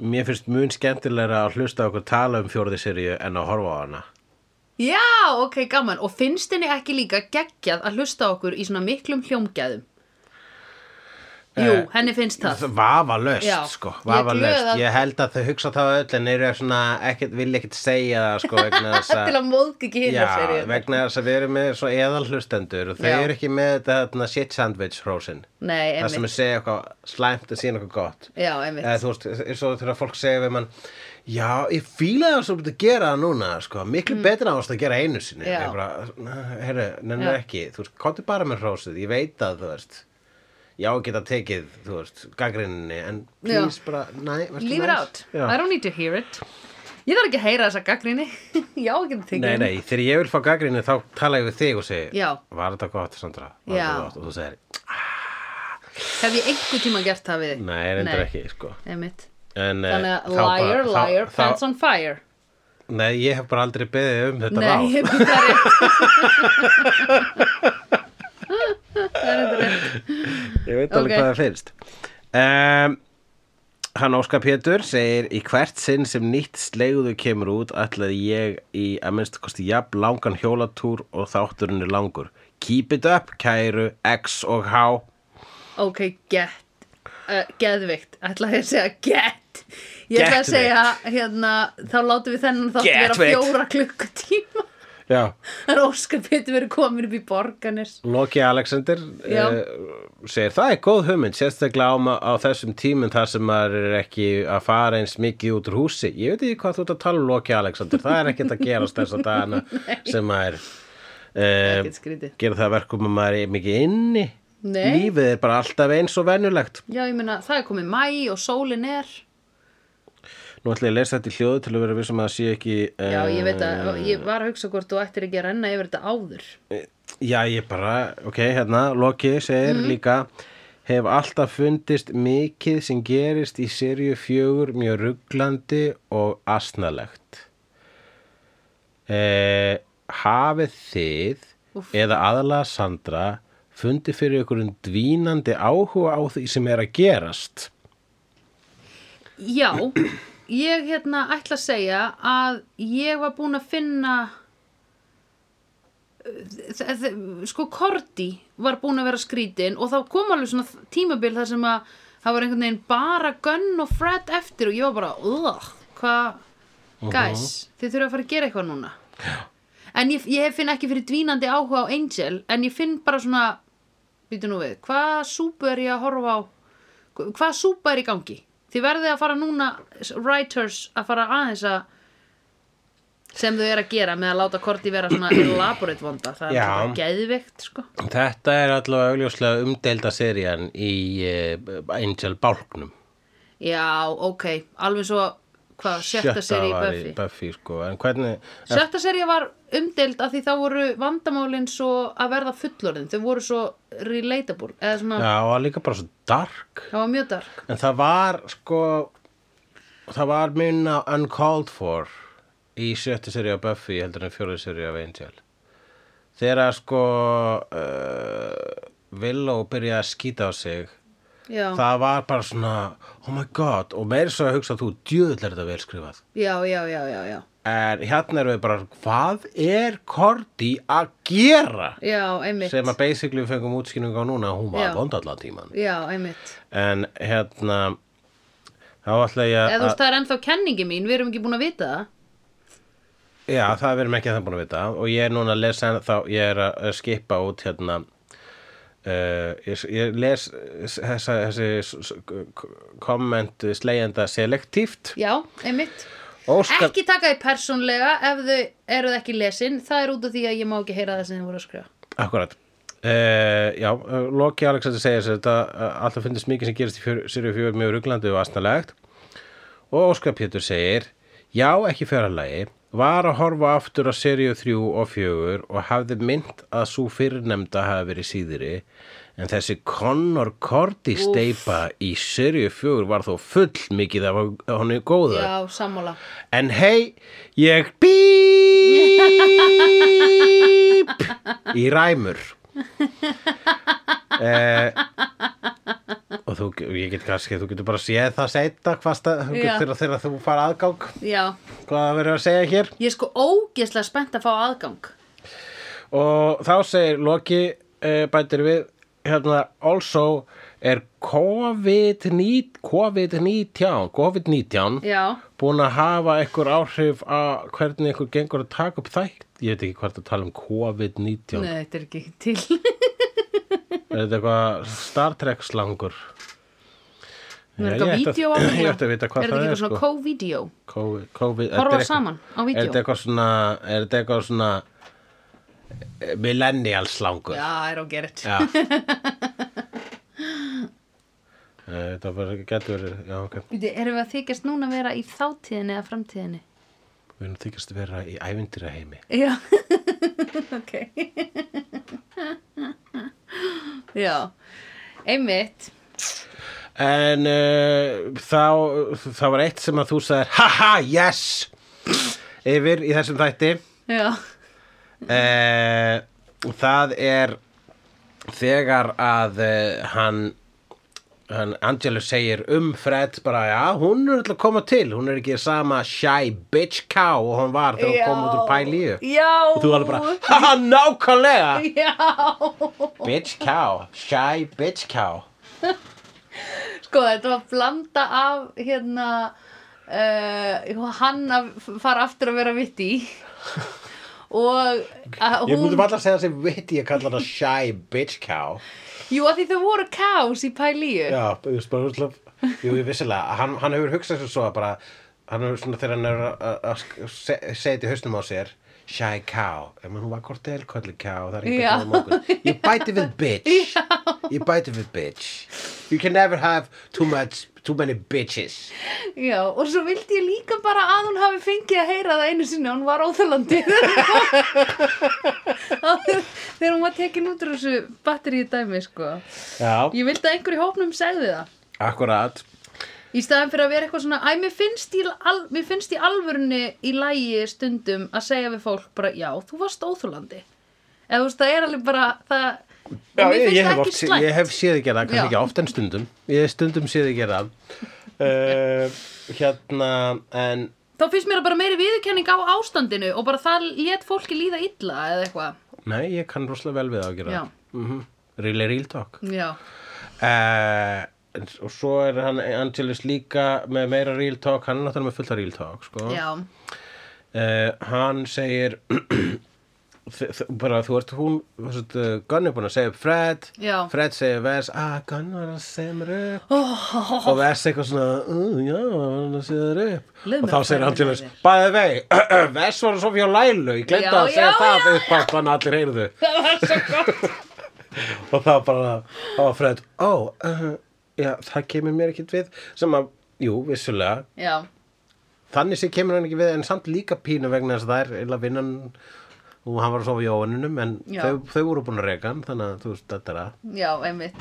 Mér finnst mun skemmtilegra að hlusta á okkur tala um fjórði sirju en að horfa á hana
já, ok, gaman. Og finnst henni ekki líka geggjað að hlusta á okkur í svona miklum hljómgæðum? Jú,
Eh,
henni finnst það.
Vafa
Já.
löst, sko
Ég er
Vafa
glöð að-
Ég held að þau hugsa það öll en eru svona ekkert, vilja ekkert segja það sko vegna þess
til að móðg ekki hinn
Já,
að serið.
vegna þess að við erum með svo eðal hlustendur og þau
Já.
eru ekki með þetta þarna shit sandwich hrósin
Nei,
Það sem
einmitt.
er segja eitthvað slæmt og síðan eitthvað gott
Já, einmitt.
eða þú veist, eins og þegar fólk segja við mann já, ég fíla það sem þú ert að gera það núna sko, miklu betra ást að gera einu sinni
Mm. Já.
Ég bara, herru, nennu
Já.
ekki þú veist, komdu bara með hrósið, ég veit að þú veist já, geta tekið þú veist, gaggrinni, en please bara, næ, verður
Leave it out. I don't need to hear it. Ég þarf ekki að heyra þessa gaggrinni. Já, ekki að um tekja
Nei, nei, þegar ég vil fá gaggrinni þá tala ég við þig og segi
Já.
Var þetta gott, Sandra? Var
Já.
þetta gott? Og þú segir,
Hef ég einhver tíma gert það við þig?
nei, reyndar ekki, sko
Einmitt.
en, eh,
Þannig að
þá bara-
liar,
þá-
liar,
þá-
pants on fire.
Nei, ég hef bara aldrei beðið um þetta
Nei,
ráð.
ég það er rétt. það er þetta rétt.
Ég veit
Ok.
alveg hvað það finnst um, Hann Óskar Pétur segir í hvert sinn sem nýtt slegðu kemur út ætlaði ég í að minnst kosti jafn langan hjólatúr og þátturinn er langur Keep it up, kæru, X og H
Ok, get. Uh, geðvikt. Ætla ég að segja get. Ég ætla að
Getvikt.
segja, hérna, þá látum við þennan þátt vera
Getvikt.
fjóra klukkutíma.
já,
það er óskar betur verið komin upp í borganes
Loki Alexander
Já.
uh, segir það er góð hugmynd sérstaklega á, ma- á þessum tímum þar sem maður er ekki að fara eins mikið út úr húsi ég veit ekki hvað þú ert að tala um Loki Alexander það er ekkert að gerast þess að dagana sem maður uh,
ekkert skrítið
gera það að verkum að maður er mikið inni
Nei.
lífið er bara alltaf eins og venjulegt
já ég meina það er komið mæ og sólin er
nú ætla ég að lesa þetta í hljóðu til að vera vissum að það sé ekki uh,
já ég veit að ég var að hugsa hvort þú ættir ekki að renna yfir þetta áður
Já, ég bara, ok, hérna, Loki segir
Mhm.
líka hef alltaf fundist mikið sem gerist í serju fjögur mjög rugglandi og asnalegt. Eh, hafið þið eða aðalega Sandra fundið fyrir ykkur um dvínandi áhuga á því sem er að gerast?
Já, ég hérna ætla að segja að ég var búin að finna þ- þ- sko Korti var búin að vera skrítin og þá kom alveg svona tímabil þar sem að það var einhvern veginn bara Gunn og Fred eftir og ég var bara "Ugh, hvað, guys þið þurfa að fara að gera eitthvað núna en ég, ég finn ekki fyrir dvínandi áhuga á Angel en ég finn bara svona býtu nú við, hvað súpu er ég að horfa á hva- hvað súpa er í gangi þið verðið að fara núna writers að fara aðeins að sem þau er að gera með að láta korti vera svona elaborate vonda það er
Já.
bara geðveikt sko
Þetta er allavega augljóslega umdelda serían í eh, Angel Bálknum.
já, ok, alveg svo hvað, sjötta seri í
var
Buffy
Buffy, sko, en hvernig...
sjötta seri var umdeild af því þá voru vandamálin svo að verða fullorðin þau voru svo relatable eða svona,
Já, og líka bara svo dark.
það var mjög dark
En það var sko það var minna uncalled for í sjöttu seri á Buffy heldur en fjóruðu seri af Angel þegar að sko uh, Willow byrjaði að skýta á sig
já,
það var bara svona oh my god og meir svo að hugsa þú djöðl er þetta vel skrifað
já, já, já, já, já
en hérna erum við bara hvað er Korti að gera
já, einmitt
sem að basically við fengum útskýningu á núna hún var
Já.
vond allan tíman
já, einmitt
en hérna þá ætla ég
eða þú veist, það er ennþá kenningi mín, við erum ekki búin að vita það
Já, það verðum ekki að það búin að vita og ég er núna að lesa þá, ég er að að skipa út hérna uh, ég, ég les þessa, þessi s- s- komment slegjenda selektíft
já, einmitt
Óskar,
ekki taka því persónlega ef þau eruð ekki lesin það er út af því að ég má ekki heyra það sem þið voru að skrifa
akkurat Uh, já, eh, Loki Alexander segir sér þetta uh, alltaf finnist mikið sem gerist í fjör, Sirju 4 mjög ruglandi og asnalegt og Óskar Pétur segir já, ekki fjaralagi var að horfa aftur á Sirju 3 og 4 og hafði mynd að svo fyrrnemda hafi verið síðri en þessi Connor Cordy steipa í Sirju 4 var þó full mikið af honu góða
já, sammála
En hei, ég bíp í ræmur. Eh, og þú, ég get kannski, þú getur bara séð það seita hvað stað,
Já.
þú getur þegar, þegar þú fara aðgang,
já,
hvað það verður að segja hér.
ég er sko ógeðslega spennt að fá aðgang
Og þá segir Loki, eh, bætir við, hérna, also er COVID-19, COVID-19, COVID-19,
já,
búin að hafa einhver áhrif að hvernig einhver gengur að taka upp þætt ég veit ekki hvað að tala um COVID-19
nei,
er
þetta er ekki til
þetta eitthvað Star Trek slangur
það er
Já, ég
eitthvað
ætti að-
vídeo á honum.
ég ætti að vita hvað
er
það
þetta
er,
ekki svona
sko.
co-video
COVID, COVID
Horfa
þetta er eitthvað-
saman á vídeó.
er þetta eitthvað svona er þetta eitthvað svona eh, millennial slangur
já, er á gerð
Já. Eh, þetta bara getur verið já ok
erum við að þykjast núna að vera í þáttíðinni eða framtíðinni
við erum þykist að vera í ævindýra heimi
já, ok já einmitt
En uh, þá, það var eitt sem að þú sagðir Haha, yes! Yfir í þessum þætti
já,
uh, Það er þegar að uh, hann, hann Angelus segir um Fred bara Já, hún er alltaf að koma til Hún er ekki sama shy bitch cow og hún var þegar hún kom út úr pælíu
já
Og þú alveg bara, haha, nákvæmlega
já
Bitch cow, shy bitch cow
Sko, þetta var blanda af hérna uh, hann að fara aftur að vera vitt í og uh, að
Ég myndi
hún,
bara að segja þessi viti ég kalla hana shy bitch cow
jú að því þau voru cows í pælíu
Já, ég veist bara útla Jú, ég vissilega, hann, hann hefur hugsað sér svo að bara hann hefur svona þegar hann er að- að að sk- se- setja í hausnum á sér shy cow, en hún var hvort elköllu cow það er
Já.
eitthvað morgun Ég bæti við bitch Ég bæti við bitch You can never have too much too many bitches
Já, og svo vildi ég líka bara að hún hafi fengið að heyra það einu sinni, hún var óþölandi þegar hún var tekin út úr þessu batteríu dæmi, sko.
Já,
Ég vildi að einhver í hópnum segði það.
akkurat
Í staðan fyrir að vera eitthvað svona, æ, mér finnst í, al, mér finnst í alvörunni í lægi stundum að segja við fólk bara, já, þú varst óþólandi. Eða þú veist, það er alveg bara, það,
Já,
mér
ég,
finnst það
ég, hef
ekki
oft, sé-
slæmt.
ég hef séð þið gera, kannski
Já.
ekki oft en stundum Ég hef stundum séð þið gera uh, Hérna, en
Þá finnst mér það bara meiri viðurkenning á ástandinu og bara það let fólki líða illa eða eitthvað.
Nei, ég kann rosalega vel við það að gera
Já.
mm -hmm. Really real talk
Já,
uh, Og svo er hann Angelus líka með meira real talk Hann er náttúrulega með fullt af real talk sko.
já,
Eh, Hann segir þ- þ- bara þú ert hún þessut, uh, Gunn er búin að segja upp Fred
Já.
Fred segir Vess ah, Gunn var að segja mér upp
Oh.
og Vess eitthvað svona uh, já, hann var að segja þér upp
Leið
og
mér
þá
að
segir
segja
Angelus
mér.
bæði vei, Vess var að sofa hjá Lælu ég glemt
Já,
að segja
já,
það
já,
upp að þannig að allir heyrðu
það var svo gott.
og það bara, það var Fred ó, uh, já, það kemur mér ekkert við sem að, jú, vissulega
Já,
þannig sem kemur hann ekki við en samt líka pínu vegna þess að það er eða vinnan og hann var að sofa í óanunum en
Já.
þau, þau voru búin að reka hann þannig að þú veist, þetta er að
já, einmitt.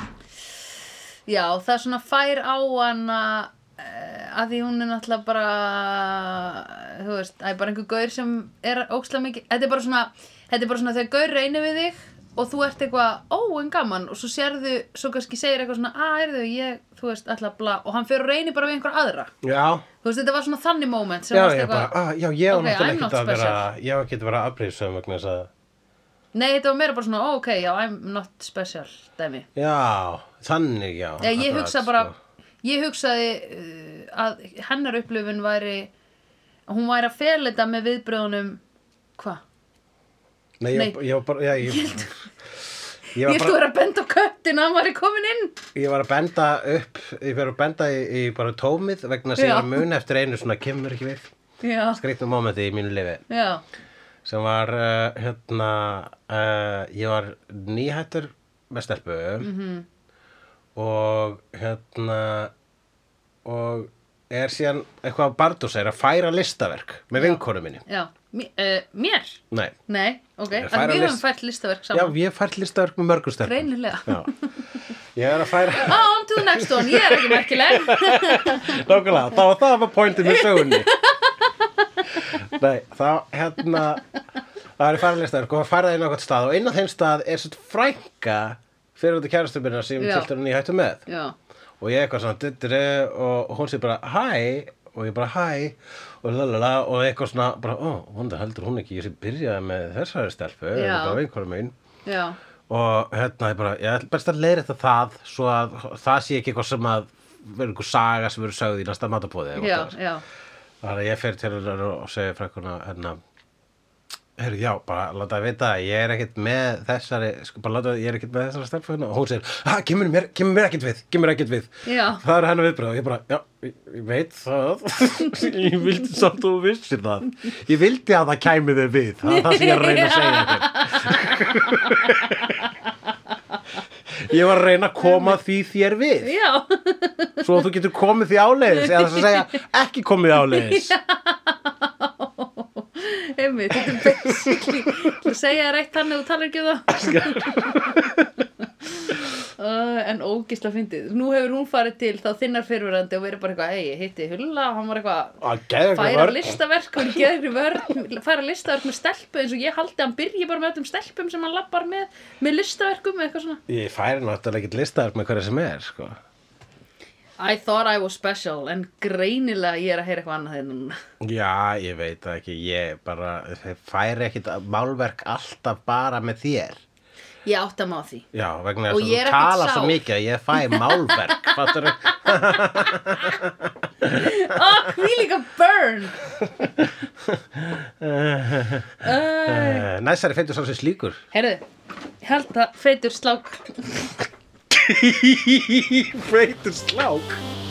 Já, það svona fær á hana eh, að því hún er náttúrulega bara, þú veist, það er bara einhver gaur sem er ókslega mikið, þetta er bara svona, þetta er bara svona þegar gaur reynir við þig og þú ert eitthvað, ó, en gaman, og svo sérðu, svo kannski segir eitthvað svona, að, er þau, ég, þú veist, alltaf bla, og hann fer og reynir bara við einhver aðra.
Já,
Þú veist, þetta var svona þannig moment sem
já,
varst
já,
eitthvað-
bara, ah, já, ég á
Ok, I'm
náttúrulega
not
ekkert að vera
special.
ég á ekkert að vera afbrýðsum vegna þess að
Nei, þetta var meira bara svona, ó, ok, já, I'm not special, dæmi.
já, þannig já
Já, ég
akkurat,
hugsa bara,
sko.
ég hugsaði uh, að hennar upplifun væri, að hún væri að fela þetta með viðbröðunum, hva?
Nei, ég,
nei.
Ég, var bara, já, ég, ég,
Ég
var
ætti að
bara,
vera að benda á köttin að hann væri komin inn.
ég var að benda upp ég var að benda í, í bara tómið vegna þess að
Já.
ég var mun eftir einu svona kemur ekki við
Já,
skrýtnum momenti í mínu lifi
já,
sem var uh, hérna uh, ég var nýhættur með stelpu
Mhm.
-hmm. og hérna og er síðan eitthvað bardús er að færa listaverk með vinkonu minni
já. Mé- eh, Mér?
Nei.
Nei, ok,
Ég
að
færa
við höfum
list-
fært listaverk
já,
saman.
ég hef fært listaverk með mörgum stelpum
Greinilega.
Já. ég er að færa
Ah, On to the next one, ég er ekki merkileg.
Nákvæmlega, það var það var pointið með sögunni Nei, þá hérna það er faralistar, kom að fara inn á eitthvað stað og inn á þeim stað er svo frænka fyrir út í kærastöfbyrna sem
Já.
tiltur hann í hættu með
Já,
og ég eitthvað svona duttri og hún sé bara hæ og ég bara hæ og lalala og eitthvað svona bara, ó, vonda heldur hún ekki ég sé byrjaði með þessari stelpu
Já.
þetta var einhverjum einn
já,
og hérna ég bara, ég ætla best að leiðrétta það svo að það sé ekki eitthvað sem að verður einhver saga sem verður sögð í næsta matabóði eða
já,
whatever.
já,
þannig að ég fer til hennar og segja frækkuna hérna Heru, já, bara láta að vita að ég er ekkert með þessari, sko, bara láta að ég er ekkert með þessari stelpu hérna og hún segir, ha, kemur mér, kemur mér ekkert við, kemur ekkert við
Já.
það er hennar viðbröð og ég bara, já, ég, ég veit það ég vildi samt og þú vissir það ég vildi að það kæmi þau við það er það sem ég er að reyna að segja ykkur Ég var að reyna að koma því þér við
já,
Svo að þú getur komið því áleiðis Eða þess að segja ekki komið áleiðis
einmitt, þetta er basically, þú segja þér eitt þannig og þú talar ekki um það. Uh, en ógisla fyndið. Nú hefur hún farið til þá þinnar fyrirverandi og verið bara eitthvað, hei, ég hitti Hulla, hann var eitthvað,
Að geða eitthvað
færa
vörn
listaverk, hún gerir vörn, færa listaverk með stelpu eins og ég haldi að hann byrji bara með öllum stelpum sem hann lappar með, með listaverkum eða eitthvað svona.
Ég færi náttúrulega ekkert listaður með hverja sem er sko.
I thought I was special, en greinilega ég er að heyra eitthvað annað þegar núna.
Já, ég veit það ekki Ég bara færi ekkert málverk alltaf bara með þér
Ég átta mig á því.
Já, vegna
Og
þess
ég er
að þú
ekkert
tala svo
sár.
mikið að Ég fæ málverk fattarðu?
Ó, hví líka burn! Æ,
Eh, næsari feitur sá sem slíkur
Øh, Herðu, ég held að feitur slák
Freitur slák